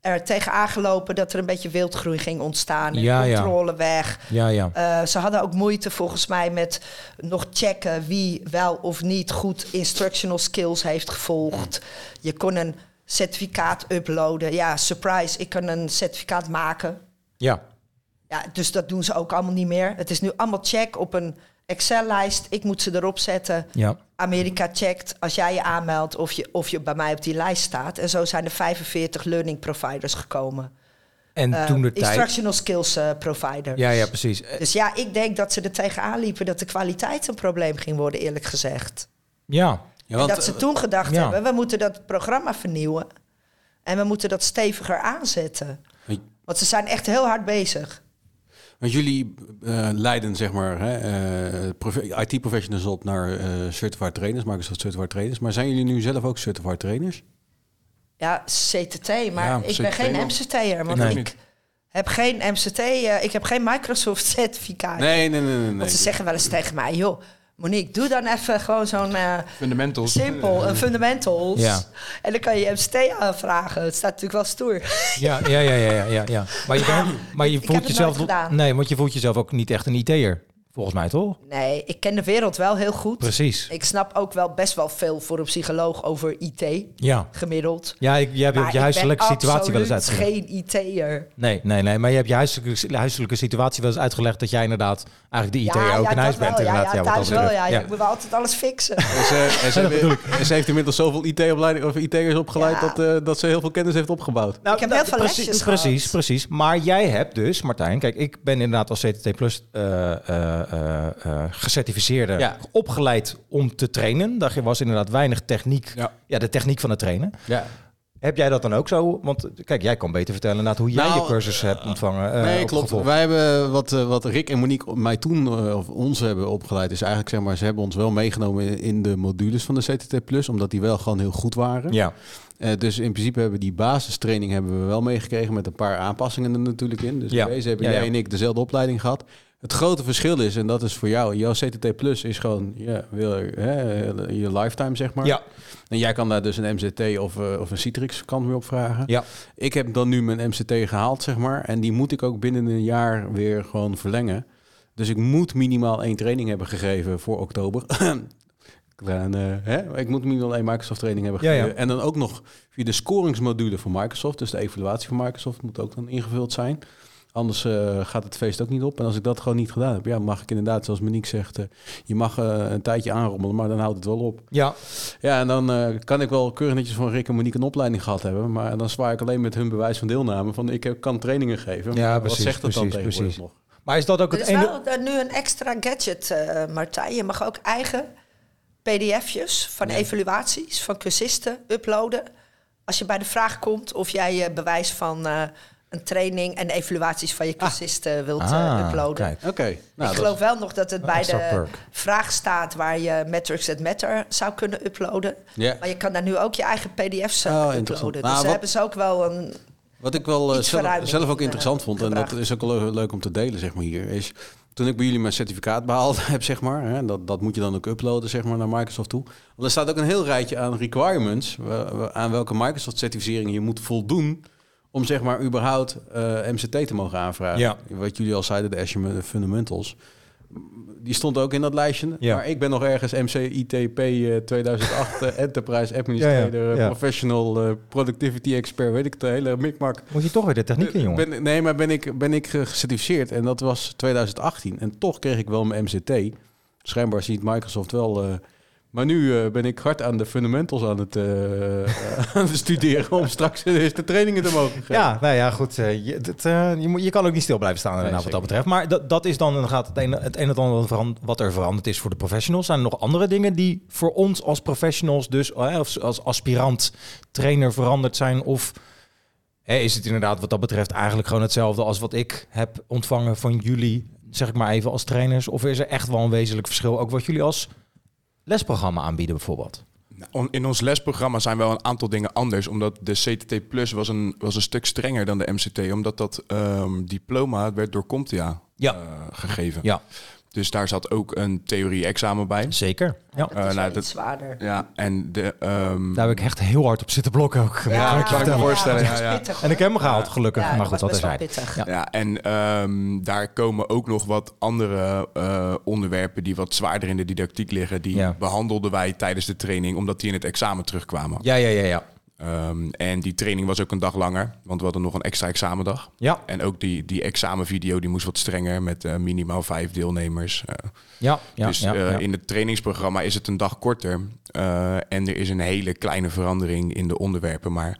S7: er tegen aangelopen dat er een beetje wildgroei ging ontstaan. En
S6: Ja, ja.
S7: controle weg.
S6: Ja, ja.
S7: Eh, ze hadden ook moeite volgens mij met nog checken wie wel of niet goed instructional skills heeft gevolgd. Je kon een certificaat uploaden. Ja, surprise, ik kan een certificaat maken.
S6: Ja.
S7: Ja, dus dat doen ze ook allemaal niet meer. Het is nu allemaal check op een Excel-lijst. Ik moet ze erop zetten.
S6: Ja.
S7: Amerika checkt als jij je aanmeldt of je, of je bij mij op die lijst staat. En zo zijn er 45 learning providers gekomen.
S6: En
S7: Eh,
S6: toen de tijd.
S7: Instructional skills eh, providers.
S6: Ja, ja, precies. Eh,
S7: Dus ja, ik denk dat ze er tegenaan liepen dat de kwaliteit een probleem ging worden, eerlijk gezegd.
S6: Ja.
S5: Ja,
S7: En
S5: want, eh,
S7: dat ze toen gedacht
S6: ja.
S7: hebben, we moeten dat programma vernieuwen. En we moeten dat steviger aanzetten.
S5: eh,
S7: Want ze zijn echt heel hard bezig.
S5: want jullie eh, leiden zeg maar hè, eh, profe- IT-professionals op naar eh, certified trainers, Microsoft certified trainers. Maar zijn jullie nu zelf ook certified trainers?
S7: Ja, CTT, maar
S5: Ja,
S7: ik
S5: CTT
S7: ben geen
S5: wel.
S7: MCT'er. Want
S5: Nee.
S7: ik heb geen MCT, eh, ik heb geen (laughs) Microsoft-certificaat.
S5: Nee, nee, nee, nee. nee.
S7: Want ze zeggen wel eens tegen mij, joh, Monique, doe dan even gewoon zo'n... eh,
S8: Fundamentals.
S7: Simpel,
S5: (laughs)
S7: een fundamentals.
S6: Ja.
S7: En dan kan je MCT aanvragen. Het staat natuurlijk wel stoer.
S6: Ja, ja, ja, ja, ja, ja, ja. Maar je,
S7: (coughs)
S6: bent- maar je
S7: heb
S6: voelt
S7: het
S6: jezelf.
S7: nooit gedaan.
S6: Nee, want je voelt jezelf ook niet echt een IT'er. Volgens mij toch?
S7: Nee, ik ken de wereld wel heel goed.
S6: Precies.
S7: Ik snap ook wel best wel veel voor een psycholoog over IT,
S6: Ja.
S7: gemiddeld.
S6: Ja, ik, jij hebt je
S7: Maar
S6: huiselijke
S7: ik ben
S6: situatie wel eens
S7: absoluut
S6: uitgelegd.
S7: geen IT'er.
S6: Nee, nee, nee. Maar je hebt je huiselijke, huiselijke situatie wel eens uitgelegd dat jij inderdaad eigenlijk de IT'er ook in
S7: dat
S6: huis
S7: wel.
S6: bent.
S7: Ja,
S6: inderdaad.
S7: ja,
S6: wat
S7: thuis
S6: dat
S7: wel.
S6: betreft.
S7: Ja, Je moet wel altijd alles fixen.
S6: Nou,
S5: En ze, en ze, hebben- en ze heeft inmiddels zoveel IT-opleiding of IT'ers opgeleid
S7: Ja.
S5: dat, eh, dat ze heel veel kennis heeft opgebouwd.
S6: Nou,
S7: Ik heb
S6: nou,
S7: heel veel
S6: precies,
S7: lesjes
S6: Precies,
S7: gehad.
S6: precies. Maar jij hebt dus, Martijn, kijk, ik ben inderdaad als CTT Plus eh, eh, eh, eh, gecertificeerde
S5: Ja.
S6: opgeleid om te trainen. Daar was inderdaad weinig techniek.
S5: Ja.
S6: ja, de techniek van het trainen.
S5: Ja.
S6: Heb jij dat dan ook zo? Want kijk, jij kan beter vertellen inderdaad hoe jij
S5: Nou,
S6: je cursus hebt ontvangen. eh,
S5: Nee,
S6: of
S5: klopt.
S6: gevolgd.
S5: Wij hebben wat, eh, wat Rick en Monique mij toen, eh, of ons hebben opgeleid, is eigenlijk zeg maar, ze hebben ons wel meegenomen in- in de modules van de CTT Plus, omdat die wel gewoon heel goed waren.
S6: Ja,
S5: Eh, dus in principe hebben we die basistraining hebben we wel meegekregen met een paar aanpassingen er natuurlijk in. Dus
S6: Ja.
S5: bij deze hebben
S6: Ja,
S5: jij
S6: ja.
S5: en ik dezelfde opleiding gehad. Het grote verschil is, en dat is voor jou, jouw CTT Plus is gewoon ja, wil, hè, je lifetime zeg maar.
S6: ja,
S5: En jij kan daar dus een MCT of, eh, of een Citrix kant mee opvragen.
S6: ja.
S5: Ik heb dan nu mijn MCT gehaald, zeg maar. En die moet ik ook binnen een jaar weer gewoon verlengen. Dus ik moet minimaal één training hebben gegeven voor oktober. (clears throat) Klein, eh, hè? Ik moet minimaal één Microsoft training hebben
S6: Ja,
S5: gegeven.
S6: ja.
S5: En dan ook nog via de scoringsmodule van Microsoft. Dus de evaluatie van Microsoft moet ook dan ingevuld zijn. Anders eh, gaat het feest ook niet op. En als ik dat gewoon niet gedaan heb, ja, mag ik inderdaad, zoals Monique zegt, eh, je mag eh, een tijdje aanrommelen, maar dan houdt het wel op.
S6: ja.
S5: Ja, en dan eh, kan ik wel keurig netjes van Rick en Monique een opleiding gehad hebben. Maar dan zwaar ik alleen met hun bewijs van deelname. Van ik heb- kan trainingen geven.
S6: Ja,
S5: Maar
S6: precies,
S5: Wat zegt dat
S6: precies,
S5: dan tegenwoordig
S6: precies.
S5: nog?
S6: Maar is dat ook
S7: Er
S6: het
S7: is
S6: ene...
S7: wel eh, nu een extra gadget, eh, Martijn. Je mag ook eigen pdf'jes van evaluaties van cursisten uploaden. Als je bij de vraag komt of jij eh, bewijs van eh, een training en evaluaties van je cursisten wilt eh,
S6: Ah,
S7: uploaden.
S6: kijk.
S5: Oké. Nou,
S7: ik
S5: dat-
S7: geloof wel nog dat het bij
S6: extra
S7: de
S6: perk.
S7: vraag staat waar je Metrics at Matter zou kunnen uploaden.
S5: Ja.
S7: Maar je kan daar nu ook je eigen pdf's
S5: Oh,
S7: aan
S5: interessant.
S7: uploaden. Dus
S8: Nou,
S5: Maar
S7: ze
S5: wat-
S7: hebben ze ook wel
S8: Oh,
S7: een...
S5: Wat ik wel eh,
S7: iets
S5: zelf,
S7: verruiming
S5: zelf ook
S7: in,
S5: interessant
S7: eh,
S5: vond, en dat
S7: gebracht.
S5: is ook wel le- leuk om te delen, zeg maar hier, is toen ik bij jullie mijn certificaat behaald (laughs) heb, zeg maar, hè, dat, dat moet je dan ook uploaden, zeg maar, naar Microsoft toe. Want er staat ook een heel rijtje aan requirements, wa- wa- aan welke Microsoft-certificering je moet voldoen om, zeg maar, überhaupt eh, MCT te mogen aanvragen.
S6: Ja.
S5: Wat jullie al zeiden, de Azure Fundamentals. Die stond ook in dat lijstje.
S6: Ja.
S5: Maar ik ben nog ergens MCITP eh, 2008 eh, Enterprise Administrator
S6: Ja, ja,
S5: eh,
S6: ja.
S5: Professional eh, Productivity Expert. Weet ik het hele mikmak. Eh,
S6: Moet je toch weer de techniek in, jongen.
S5: Ben, nee, maar ben ik, ben ik eh, gecertificeerd en dat was 2018. En toch kreeg ik wel mijn MCT. Schijnbaar ziet Microsoft wel. eh, maar nu eh, ben ik hard aan de fundamentals aan het, eh, (laughs) aan het studeren om straks de eerste trainingen te mogen geven.
S6: Ja, nou ja, goed. eh, je, dat, eh, je, moet- je kan ook niet stil blijven staan inderdaad,
S5: Nee,
S6: wat dat betreft. Maar dat, dat is dan inderdaad het een, het een en het ander wat veran- wat er veranderd is voor de professionals. Zijn er nog andere dingen die voor ons als professionals, dus eh, of als aspirant trainer veranderd zijn? Of eh, is het inderdaad wat dat betreft eigenlijk gewoon hetzelfde als wat ik heb ontvangen van jullie, zeg ik maar even, als trainers? Of is er echt wel een wezenlijk verschil, ook wat jullie als lesprogramma aanbieden bijvoorbeeld?
S8: Nou, on- In ons lesprogramma zijn wel een aantal dingen anders. Omdat de CTT Plus was een, was een stuk strenger dan de MCT. Omdat dat ehm, diploma werd door CompTIA
S6: Ja.
S8: eh, gegeven.
S6: Ja,
S8: Dus daar zat ook een theorie-examen bij.
S6: zeker. Ja.
S7: Het is
S8: nou,
S7: wel
S8: dat-
S7: iets zwaarder.
S8: Ja, en de... ehm,
S6: Daar heb ik echt heel hard op zitten blokken ook.
S8: ja,
S6: Merk
S8: dat
S6: je
S8: kan ik me
S6: wel.
S8: voorstellen.
S7: dat
S8: Ja,
S7: is
S8: ja.
S7: pittig,
S6: En ik
S7: hoor.
S6: heb hem gehaald, gelukkig.
S7: Ja,
S6: maar
S7: dat
S6: goed,
S7: was
S6: dat is
S7: best wel
S6: hij.
S7: pittig.
S6: Ja.
S8: Ja, en ehm, daar komen ook nog wat andere eh, onderwerpen die wat zwaarder in de didactiek liggen. Die
S6: Ja.
S8: behandelden wij tijdens de training, omdat die in het examen terugkwamen.
S6: Ja, ja, ja, ja.
S8: Ehm, en die training was ook een dag langer, want we hadden nog een extra examendag.
S6: Ja,
S8: En ook die, die examenvideo die moest wat strenger met eh, minimaal vijf deelnemers. Eh,
S6: ja, ja.
S8: dus
S6: ja,
S8: eh,
S6: ja.
S8: in het trainingsprogramma is het een dag korter. Eh, en er is een hele kleine verandering in de onderwerpen. Maar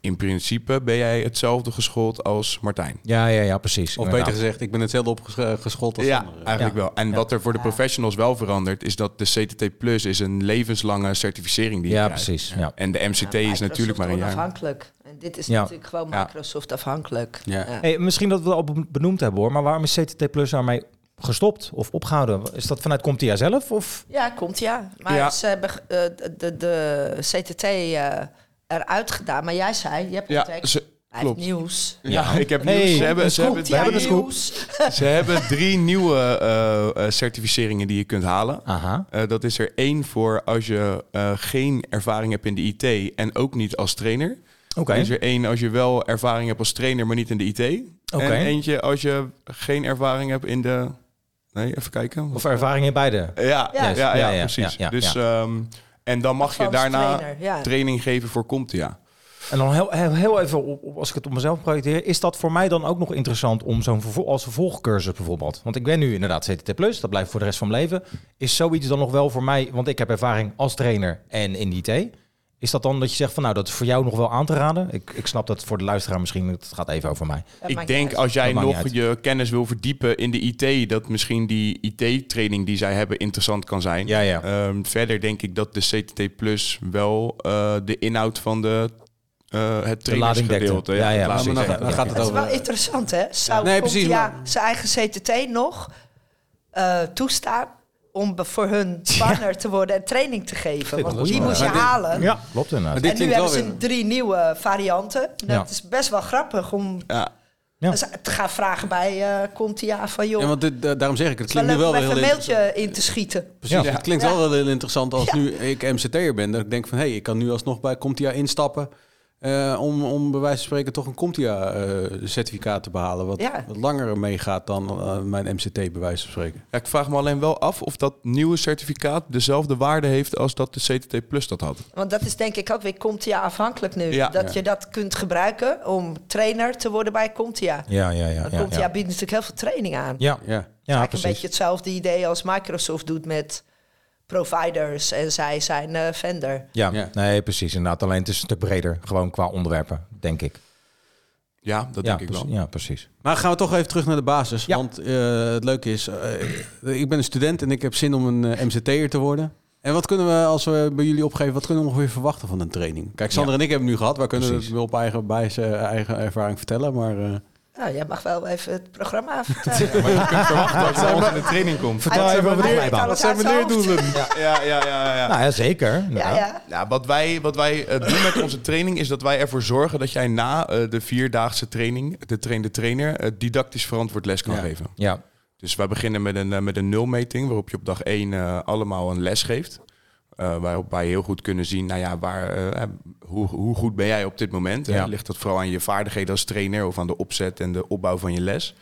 S8: in principe ben jij hetzelfde geschoold als Martijn.
S6: ja, ja, ja, precies.
S5: Of beter
S6: inderdaad.
S5: gezegd, ik ben hetzelfde opgeschold eh, als
S8: Ja,
S5: anderen.
S8: eigenlijk wel. En wat er voor de professionals wel verandert, is dat de CTT Plus is een levenslange certificering die je
S6: Ja,
S8: krijgt.
S6: precies. Ja.
S8: En de MCT is natuurlijk maar een jaar.
S7: Onafhankelijk. En dit is
S6: Ja.
S7: natuurlijk gewoon
S8: Ja.
S7: Microsoft afhankelijk.
S5: Ja.
S6: Hey, misschien dat we het al be- benoemd hebben hoor, maar waarom is CTT Plus daarmee gestopt of opgehouden? Is dat vanuit Comtia zelf? Of?
S7: Ja, komt ja. Maar
S8: Ja.
S7: ze hebben eh, de, de, de CTT eh, eruit gedaan. Maar jij zei, je hebt
S8: Ja,
S7: contact.
S8: ze-
S7: Hij heeft
S8: klopt.
S7: nieuws.
S8: Ja, ik heb
S6: Nee,
S8: nieuws. Ze hebben,
S6: een
S8: ze hebben,
S6: scoop.
S8: we hebben een scoop.
S7: nieuws.
S8: Ze hebben drie nieuwe eh, eh, certificeringen die je kunt halen.
S6: Aha.
S8: Eh, dat is er één voor als je eh, geen ervaring hebt in de IT en ook niet als trainer.
S6: Oké.
S8: Er is er één als je wel ervaring hebt als trainer, maar niet in de IT.
S6: Oké.
S8: En eentje als je geen ervaring hebt in de... Nee, even kijken.
S6: Of ervaring in beide?
S8: Ja, ja,
S6: Yes.
S8: ja,
S6: Ja,
S8: ja,
S6: ja,
S8: precies.
S6: ja, ja,
S8: dus, ehm, en dan mag je
S7: Advanced
S8: daarna
S7: trainer, ja.
S8: training geven voor CompTIA.
S6: En dan heel, heel, heel even, op, op- als ik het op mezelf projecteer, is dat voor mij dan ook nog interessant om zo'n vervol- als vervolgcursus bijvoorbeeld? Want ik ben nu inderdaad CTT Plus, dat blijft voor de rest van mijn leven. Is zoiets dan nog wel voor mij, want ik heb ervaring als trainer en in de IT. Is dat dan dat je zegt van nou, dat is voor jou nog wel aan te raden? Ik, ik snap dat voor de luisteraar misschien, het gaat even over mij.
S7: Dat maakt
S8: Ik
S7: niet
S8: denk
S7: uit.
S8: als jij
S6: Dat maakt
S8: nog
S6: niet
S8: je kennis wil verdiepen in de IT, dat misschien die IT-training die zij hebben interessant kan zijn.
S6: Ja, ja.
S8: Ehm, verder denk ik dat de CTT Plus wel eh, de inhoud van de, eh het
S6: lading dekte.
S8: trainingsgedeelte...
S6: Ja, ja,
S8: de
S5: Maar
S8: lading
S5: dan,
S8: dekte.
S5: dan gaat het
S7: Dat is wel
S5: over...
S7: interessant, hè? Zou
S5: Nee,
S7: nee,
S5: precies, maar-
S7: zijn eigen CTT nog eh, toestaan om be- voor
S5: (laughs)
S7: hun partner te worden en training te geven? Want die moest je halen.
S6: Ja, klopt
S5: Maar
S6: inderdaad.
S5: dit
S7: En nu
S5: klinkt wel
S7: hebben ze
S5: weer-
S7: drie nieuwe varianten. Dat
S6: Ja.
S7: is best wel grappig om
S8: Ja.
S6: Ja.
S7: te gaan vragen bij eh Contia van joh.
S5: Ja, want dit- da- daarom zeg ik, het
S7: Het is
S5: klinkt nu
S7: wel
S5: wel
S7: leuk
S5: weer
S7: om
S5: heel
S7: even een
S5: interessant.
S7: mailtje in te schieten.
S5: Precies,
S6: Ja.
S5: het klinkt
S7: Ja.
S5: wel heel interessant als
S7: Ja.
S5: nu ik MCT'er ben. Dat ik denk van, hé, hey, ik kan nu alsnog bij CompTIA instappen... eh, om, om bij wijze van spreken toch een CompTIA-certificaat te behalen... Wat,
S7: Ja.
S5: wat langer meegaat dan eh, mijn MCT bij wijze van spreken.
S8: Ja, ik vraag me alleen wel af of dat nieuwe certificaat dezelfde waarde heeft als dat de CTT Plus dat had.
S7: Want dat is denk ik ook weer Comtia afhankelijk nu.
S8: Ja.
S7: dat
S8: Ja.
S7: je dat kunt gebruiken om trainer te worden bij Comtia.
S6: Ja, ja, ja.
S7: Want
S6: Ja,
S7: Comtia
S6: ja.
S7: biedt natuurlijk heel veel training aan.
S6: ja.
S5: Ja.
S6: ja
S7: Eigenlijk een
S6: precies.
S7: beetje hetzelfde idee als Microsoft doet met providers en zij zijn eh, vendor.
S6: Ja,
S5: Ja.
S6: nee, precies inderdaad. Alleen het is een stuk breder, gewoon qua onderwerpen, denk ik.
S8: Ja, dat
S6: ja,
S8: denk ik wel.
S6: precies. ja, precies.
S5: Maar Nou, gaan we toch even terug naar de basis.
S6: Ja.
S5: Want eh, het leuke is, eh, ik ben een student en ik heb zin om een eh, MCT'er te worden. En wat kunnen we, als we bij jullie opgeven, wat kunnen we ongeveer verwachten van een training? Kijk, Sander en ik hebben het nu gehad. Wij kunnen
S6: Precies.
S5: het wel op eigen, bij zijn eigen ervaring vertellen. Maar eh,
S7: Nou, jij mag wel even het (laughs) programma vertellen.
S8: Maar je kunt verwachten dat je bij ons in de training komt.
S6: Vertel even over de
S7: Hij weet
S6: glijbaan.
S7: alles uit zijn hoofd.
S8: Ja, ja, ja, ja.
S6: Nou ja, zeker.
S7: Ja,
S6: inderdaad.
S7: ja.
S8: Ja, wat wij, wat wij eh, doen met onze training is dat wij ervoor zorgen dat jij na eh, de vierdaagse training, de trainde trainer, eh, didactisch verantwoord les kan
S5: Ja.
S8: geven.
S6: Ja.
S8: Dus wij beginnen met een, eh, met een nulmeting, waarop je op dag 1 allemaal een les geeft. Eh, waarop wij heel goed kunnen zien, nou ja, waar, eh, hoe, hoe goed ben jij op dit moment? hè?
S6: Ja.
S8: Ligt dat vooral aan je vaardigheden als trainer of aan de opzet en de opbouw van je les?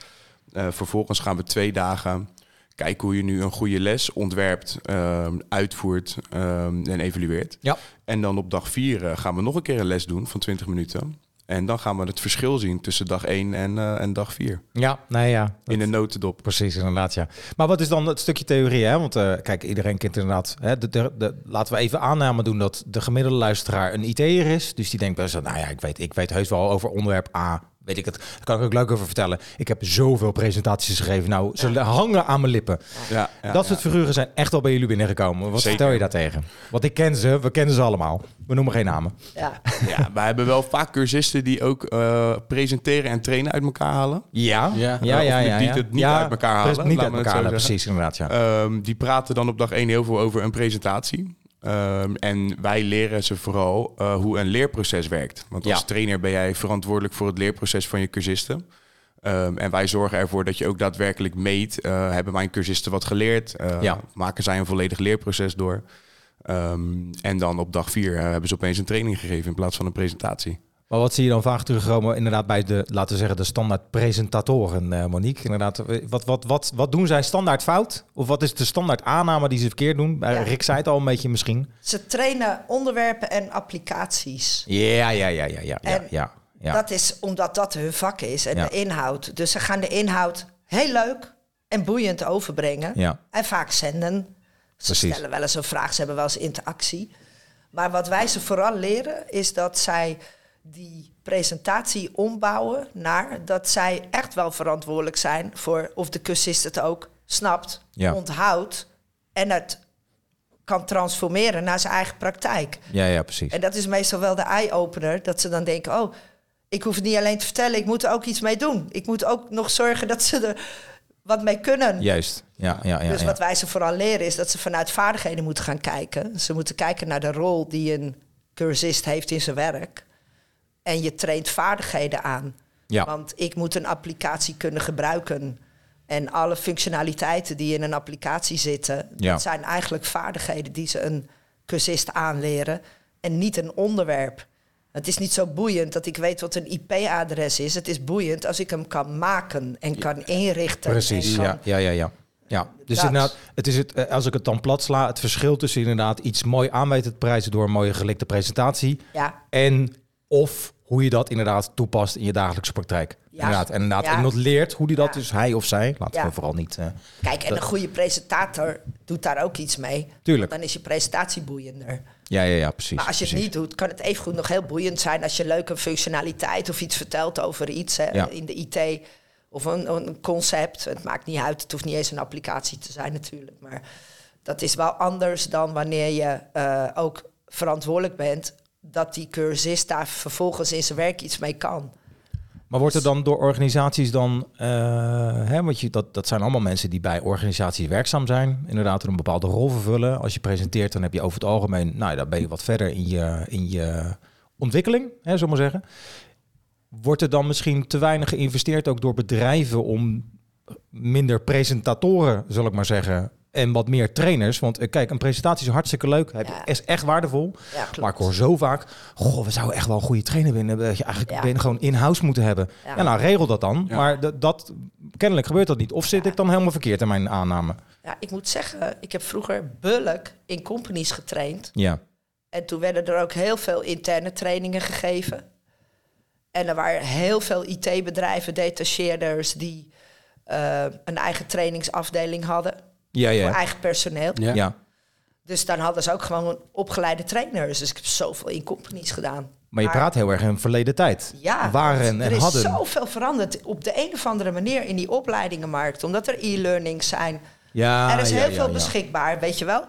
S8: Eh, vervolgens gaan we twee dagen kijken hoe je nu een goede les ontwerpt, ehm, uitvoert ehm, en evalueert.
S6: Ja.
S8: En dan op dag 4 gaan we nog een keer een les doen van 20 minuten. En dan gaan we het verschil zien tussen dag 1 en, eh, en dag 4.
S6: Ja, nee, ja.
S8: In de notendop.
S6: Precies, inderdaad, ja. Maar wat is dan het stukje theorie, hè? Want eh, kijk, iedereen kent inderdaad... Hè, de, de, de- laten we even aanname doen dat de gemiddelde luisteraar een IT'er is. Dus die denkt best wel, nou ja, ik weet, ik weet heus wel over onderwerp A. Weet ik het. Daar kan ik ook leuk over vertellen. Ik heb zoveel presentaties gegeven. Nou, ze hangen aan mijn lippen.
S8: Ja, ja,
S6: dat soort figuren zijn echt al bij jullie binnengekomen. Wat
S8: Zeker.
S6: vertel je daartegen? Want ik ken ze, we kennen ze allemaal. We noemen geen namen.
S7: Ja.
S8: Ja, wij hebben wel vaak cursisten die ook eh, presenteren en trainen uit elkaar halen.
S6: Ja, ja,
S8: Eh,
S6: ja,
S8: of
S6: ja.
S8: die-
S6: ja,
S8: die het niet uit elkaar
S6: pres-
S8: halen,
S6: Niet
S8: laten
S6: uit
S8: we het
S6: elkaar
S8: zo
S6: halen,
S8: zeggen.
S6: precies, inderdaad, ja.
S8: Ehm, die praten dan op dag 1 heel veel over een presentatie. Ehm, en wij leren ze vooral eh, hoe een leerproces werkt. Want als
S6: Ja.
S8: trainer ben jij verantwoordelijk voor het leerproces van je cursisten. Ehm, en wij zorgen ervoor dat je ook daadwerkelijk meet. eh, hebben mijn cursisten wat geleerd? Eh,
S6: Ja.
S8: Maken zij een volledig leerproces door? Ehm, en dan op dag 4 hebben ze opeens een training gegeven in plaats van een presentatie.
S6: Maar wat zie je dan vaak terugkomen inderdaad bij de, laten we zeggen, de standaard presentatoren, eh, Monique? Inderdaad, eh, wat, wat, wat, wat doen zij standaard fout? Of wat is de standaard aanname die ze verkeerd doen? Eh,
S7: Ja.
S6: Rick zei het al een beetje misschien.
S7: Ze trainen onderwerpen en applicaties.
S6: Ja, ja, ja, ja, ja, ja,
S7: En
S6: ja.
S7: Dat is omdat dat hun vak is en
S6: Ja.
S7: de inhoud. Dus ze gaan de inhoud heel leuk en boeiend overbrengen.
S6: Ja.
S7: En vaak zenden. Ze
S6: Precies.
S7: stellen wel eens een vraag, ze hebben wel eens interactie. Maar wat wij ze vooral leren is dat zij die presentatie ombouwen naar dat zij echt wel verantwoordelijk zijn voor of de cursist het ook snapt,
S6: Ja.
S7: onthoudt en het kan transformeren naar zijn eigen praktijk.
S6: Ja, ja, precies.
S7: En dat is meestal wel de eye-opener. Dat ze dan denken, oh, ik hoef het niet alleen te vertellen. Ik moet er ook iets mee doen. Ik moet ook nog zorgen dat ze er wat mee kunnen.
S6: Juist. Ja, ja, ja.
S7: dus
S6: ja.
S7: wat wij ze vooral leren is dat ze vanuit vaardigheden moeten gaan kijken. Ze moeten kijken naar de rol die een cursist heeft in zijn werk. En je traint vaardigheden aan.
S6: Ja.
S7: Want ik moet een applicatie kunnen gebruiken. En alle functionaliteiten die in een applicatie zitten,
S6: Ja.
S7: dat zijn eigenlijk vaardigheden die ze een cursist aanleren en niet een onderwerp. Het is niet zo boeiend dat ik weet wat een IP-adres is. Het is boeiend als ik hem kan maken en kan inrichten.
S6: Precies,
S7: eh, en kan-
S6: ja, ja, ja, ja. Ja, dus
S7: Dat.
S6: inderdaad, het is het, eh, als ik het dan plat sla, het verschil tussen inderdaad iets mooi aanweten te prijzen door een mooie gelikte presentatie
S7: Ja.
S6: en of hoe je dat inderdaad toepast in je dagelijkse praktijk.
S7: Ja.
S6: Inderdaad, en inderdaad,
S7: Ja.
S6: iemand leert hoe die dat
S7: Ja.
S6: dus hij of zij, laten
S7: Ja.
S6: we vooral niet. eh,
S7: Kijk, en een goede presentator doet daar ook iets mee.
S6: Tuurlijk.
S7: Dan is je presentatie boeiender.
S6: ja, ja, ja, precies.
S7: Maar als je het
S6: precies.
S7: niet doet, kan het evengoed nog heel boeiend zijn als je leuke functionaliteit of iets vertelt over iets hè,
S6: Ja.
S7: in de IT of een, een concept. Het maakt niet uit, het hoeft niet eens een applicatie te zijn natuurlijk. Maar dat is wel anders dan wanneer je eh, ook verantwoordelijk bent dat die cursist daar vervolgens in zijn werk iets mee kan.
S6: Maar wordt er dan door organisaties dan, eh, hè, want je, dat, dat zijn allemaal mensen die bij organisaties werkzaam zijn, inderdaad een bepaalde rol vervullen. Als je presenteert, dan heb je over het algemeen, nou ja, dan ben je wat verder in je, in je ontwikkeling, hè, zullen we maar zeggen. Wordt er dan misschien te weinig geïnvesteerd ook door bedrijven om minder presentatoren, zal ik maar zeggen, en wat meer trainers? Want eh, kijk, een presentatie is hartstikke leuk, heb-
S7: Ja.
S6: is echt waardevol.
S7: Ja, klopt.
S6: Maar ik hoor zo vaak, goh, we zouden echt wel een goede trainer binnen. Dat je eigenlijk
S7: Ja.
S6: binnen gewoon in-house moeten hebben. Ja.
S7: Ja.
S6: nou, regel dat dan. Maar dat, dat, kennelijk gebeurt dat niet. Of zit ik dan helemaal verkeerd in mijn aanname?
S7: Ja, ik moet zeggen, ik heb vroeger bulk in companies getraind.
S6: Ja,
S7: En toen werden er ook heel veel interne trainingen gegeven. En er waren heel veel IT-bedrijven, detacheerders, die eh, een eigen trainingsafdeling hadden.
S6: ja, ja.
S7: Voor
S6: ja.
S7: eigen personeel.
S5: ja.
S7: Dus dan hadden ze ook gewoon opgeleide trainers. Dus ik heb zoveel in companies gedaan.
S6: Maar je praat heel erg in verleden tijd.
S7: Ja,
S6: Waren
S7: want
S6: en
S7: er is
S6: hadden.
S7: zoveel veranderd op de een of andere manier in die opleidingenmarkt. Omdat er e-learnings zijn,
S6: Ja,
S7: er is
S6: ja,
S7: heel
S6: ja,
S7: veel
S6: ja.
S7: beschikbaar, weet je wel.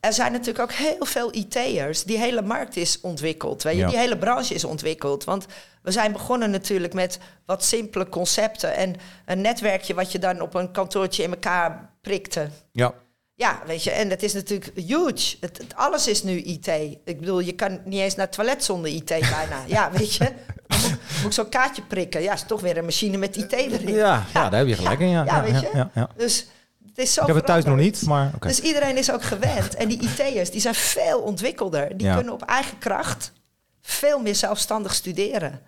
S7: Er zijn natuurlijk ook heel veel IT'ers. Die hele markt is ontwikkeld, weet je.
S6: Ja.
S7: Die hele branche is ontwikkeld. Want we zijn begonnen natuurlijk met wat simpele concepten... en een netwerkje wat je dan op een kantoortje in elkaar prikte.
S6: Ja.
S7: Ja, weet je, en dat is natuurlijk huge. Het, het- alles is nu IT. Ik bedoel, je kan niet eens naar het toilet zonder IT
S6: (laughs)
S7: bijna. ja, weet je. Dan Moet, moet ik zo'n kaartje prikken? Ja, is toch weer een machine met IT erin.
S6: Ja, ja, daar heb je gelijk in, ja. Ja,
S7: weet
S6: ja,
S7: je.
S6: ja, ja.
S7: Dus het is zo
S6: Ik heb het thuis nog
S7: veranderd.
S6: niet, maar oké.
S7: Dus iedereen is ook gewend. En die IT'ers, die zijn veel ontwikkelder. Die
S6: Ja.
S7: kunnen op eigen kracht veel meer zelfstandig studeren.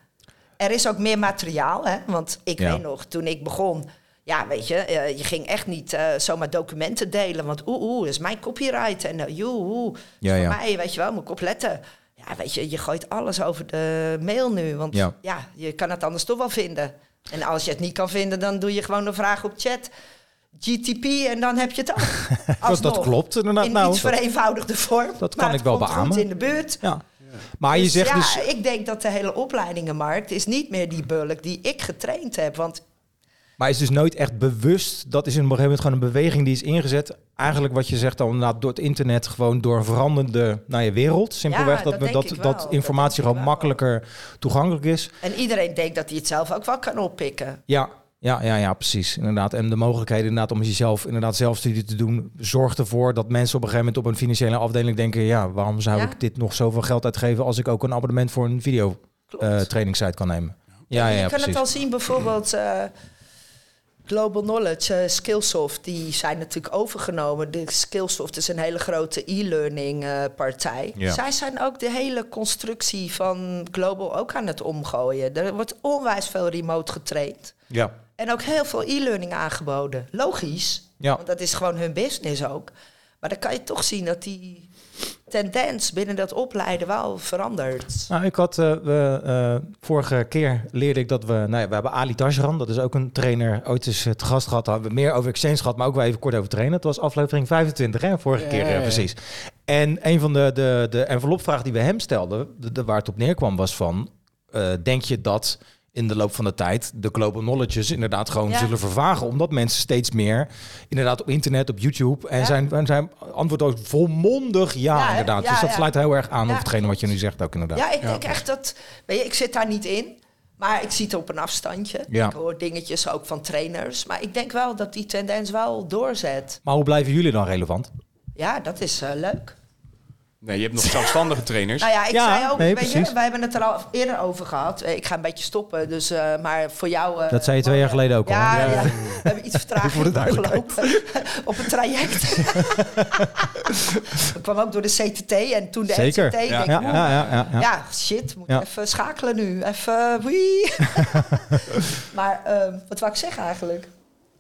S7: Er is ook meer materiaal, hè? want ik
S6: Ja.
S7: weet nog, toen ik begon... Ja, weet je, eh, je ging echt niet eh, zomaar documenten delen. Want oeh, oeh, dat is mijn copyright. En eh, joe, oeh, dat is
S6: Ja,
S7: voor
S6: ja.
S7: mij, weet je wel, moet ik opletten. Ja, weet je, je gooit alles over de mail nu. Want
S6: Ja.
S7: ja, je kan het anders toch wel vinden. En als je het niet kan vinden, dan doe je gewoon een vraag op chat. GTP en dan heb je
S6: (laughs)
S7: het ook.
S6: Dat, dat
S7: Alsnog.
S6: klopt inderdaad.
S7: In
S6: nou,
S7: iets
S6: dat-
S7: vereenvoudigde vorm.
S6: dat
S7: maar
S6: kan
S7: het
S6: ik wel
S7: komt goed
S6: beamen.
S7: in de buurt.
S6: ja. Maar je
S7: Dus
S6: zegt
S7: ja,
S6: dus...
S7: ik denk dat de hele opleidingenmarkt is niet meer die bulk die ik getraind heb. Want
S6: Maar is dus nooit echt bewust, dat is in een gegeven moment gewoon een beweging die is ingezet. Eigenlijk wat je zegt dan inderdaad door het internet, gewoon door een veranderende nou ja, wereld. Simpelweg
S7: Ja,
S6: dat,
S7: dat
S6: we,
S7: denk
S6: dat,
S7: ik wel.
S6: dat
S7: Dat
S6: informatie
S7: denk ik
S6: gewoon
S7: wel.
S6: makkelijker toegankelijk is.
S7: en iedereen denkt dat hij het zelf ook wel kan oppikken.
S6: Ja, ja, ja, ja, precies. Inderdaad. En de mogelijkheden inderdaad om jezelf inderdaad zelfstudie te doen, zorgt ervoor dat mensen op een gegeven moment op een financiële afdeling denken, ja, waarom zou
S7: Ja.
S6: ik dit nog zoveel geld uitgeven als ik ook een abonnement voor een video
S7: Klopt.
S6: eh trainingssite kan nemen? Ja, ja,
S7: je
S6: ja,
S7: kan het
S6: precies.
S7: al zien bijvoorbeeld eh, Global Knowledge, eh, Skillsoft, die zijn natuurlijk overgenomen. De Skillsoft is een hele grote e-learning eh, partij.
S6: Ja.
S7: Zij zijn ook de hele constructie van Global ook aan het omgooien. Er wordt onwijs veel remote getraind.
S6: Ja.
S7: En ook heel veel e-learning aangeboden. Logisch,
S6: Ja.
S7: want dat is gewoon hun business ook. Maar dan kan je toch zien dat die tendens binnen dat opleiden wel verandert.
S6: Nou, ik had eh, we, eh, vorige keer leerde ik dat we, nou ja, we hebben Ali Tajran, dat is ook een trainer, ooit eens het gast gehad, daar hebben we meer over exchange gehad, maar ook wel even kort over trainen. Het was aflevering 25, hè, vorige keer eh, precies. En een van de, de, de envelopvragen die we hem stelden, de, de- waar het op neerkwam, was van, eh, denk je dat in de loop van de tijd de global knowledges inderdaad gewoon
S7: Ja.
S6: zullen vervagen, omdat mensen steeds meer inderdaad op internet, op YouTube en
S7: Ja.
S6: zijn, en zijn antwoord ook volmondig ja,
S7: Ja, hè?
S6: inderdaad.
S7: Ja,
S6: dus dat
S7: ja.
S6: sluit heel erg aan
S7: Ja,
S6: op hetgene wat je nu zegt ook inderdaad.
S7: Ja, ik denk echt dat. Weet je, ik zit daar niet in, maar ik zie het op een afstandje.
S6: Ja.
S7: Ik hoor dingetjes ook van trainers. Maar ik denk wel dat die tendens wel doorzet.
S6: Maar hoe blijven jullie dan relevant?
S7: Ja, dat is eh, leuk.
S8: Nee, je hebt nog zelfstandige
S7: (laughs)
S8: trainers.
S7: Nou ja, ik
S6: Ja,
S7: zei ook,
S6: nee,
S7: weet
S6: precies.
S7: je, wij hebben het er al eerder over gehad. Eh, Ik ga een beetje stoppen, dus, eh, maar voor jou... eh,
S6: Dat zei je twee jaar geleden ook al,
S7: Ja,
S6: hè?
S7: ja. we
S6: (laughs)
S7: hebben iets vertraging opgelopen (laughs) op een traject. ik kwam ook door de CTT en toen de
S6: Zeker.
S7: NCT.
S8: Ja.
S7: denk,
S6: Ja,
S7: oh, oeh,
S6: ja, ja, ja, ja.
S7: Ja, shit, moet
S6: Ja.
S7: even schakelen nu. Even,
S6: (laughs)
S7: wie. maar ehm, wat wou ik zeggen eigenlijk?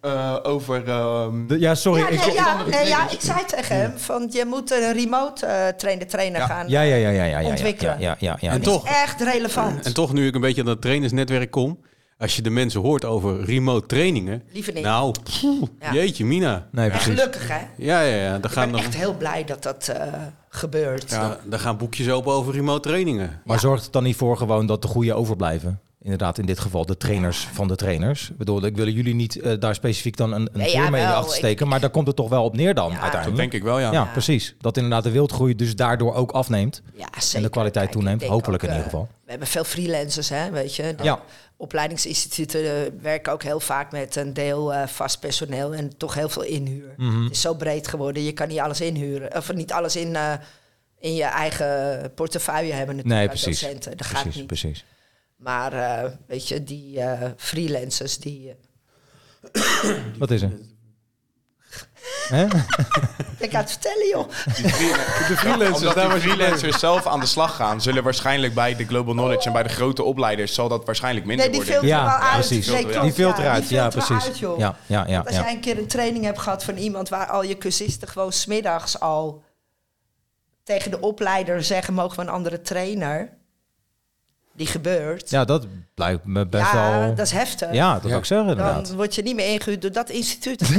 S8: Eh, over... ehm,
S6: De- ja, sorry.
S7: ja,
S6: ik,
S7: nee, ja, nee, ja,
S8: trainers.
S7: ik zei tegen hem, van, je moet een remote eh, trainer trainer
S8: Ja.
S7: gaan.
S6: ja, ja, ja, ja, ja, ja,
S7: Ontwikkelen.
S6: Ja, ja, ja, ja.
S5: En
S7: Dat
S5: toch-
S7: is echt relevant.
S5: En toch, nu ik een beetje aan dat trainersnetwerk kom, als je de mensen hoort over remote trainingen.
S7: Liever niet.
S5: Nou, pff,
S7: Ja.
S5: jeetje, Mina.
S6: Nee,
S7: En
S6: precies.
S7: gelukkig, hè?
S5: Ja, ja, ja. Daar
S7: Ik
S5: gaan,
S7: ben
S5: dan,
S7: echt heel blij dat dat eh, gebeurt.
S5: daar, daar gaan boekjes open over remote trainingen.
S6: Maar zorgt het dan niet voor gewoon dat de goede overblijven? Inderdaad, in dit geval de trainers van de trainers. Ik bedoel, ik wil jullie niet eh, daar specifiek dan een, een
S7: Nee,
S6: veer mee
S7: jawel,
S6: achter steken, maar daar komt het toch wel op neer dan
S7: Ja,
S8: dat
S6: uiteindelijk.
S8: denk ik wel, ja.
S6: Hm? Ja, precies. Dat inderdaad de wildgroei dus daardoor ook afneemt.
S7: Ja, zeker.
S6: En de kwaliteit
S7: Kijk, ik
S6: toeneemt,
S7: denk
S6: hopelijk
S7: ook,
S6: in
S7: eh,
S6: ieder geval.
S7: We hebben veel freelancers, hè, weet je. De
S6: Ja.
S7: Opleidingsinstituten eh, werken ook heel vaak met een deel eh, vast personeel en toch heel veel inhuur.
S6: Mhm.
S7: Het is zo breed geworden, je kan niet alles inhuren. Of niet alles in, eh, in je eigen portefeuille hebben natuurlijk
S6: Nee,
S7: als
S6: precies.
S7: docenten. Dat gaat
S6: Precies,
S7: niet.
S6: precies.
S7: Maar eh, weet je, die eh, freelancers, die... eh,
S6: Wat
S7: (laughs)
S6: is er? Hè?
S7: ik ga het vertellen, joh.
S8: De freelancers, daar die freelancers zelf aan de slag gaan, zullen waarschijnlijk bij de Global Knowledge en bij de grote opleiders zal dat waarschijnlijk minder
S7: Nee, die
S8: worden.
S7: filter
S6: Ja,
S7: wel uit.
S6: precies.
S7: Nee,
S8: Die
S7: klopt,
S6: Die filter
S7: ja,
S6: uit.
S7: die
S6: Ja,
S7: filter
S6: precies.
S7: uit, joh.
S6: Ja, ja, ja.
S7: Want als
S6: ja.
S7: jij een keer een training hebt gehad van iemand waar al je cursisten gewoon smiddags al tegen de opleider zeggen: mogen we een andere trainer? Die gebeurt.
S6: Ja, dat blijkt me best
S7: Ja,
S6: wel...
S7: dat is eh, heftig.
S6: Ja, dat
S5: Ja.
S6: zou ik zeggen inderdaad.
S7: Dan word je niet meer ingehuurd door dat instituut.
S6: (laughs)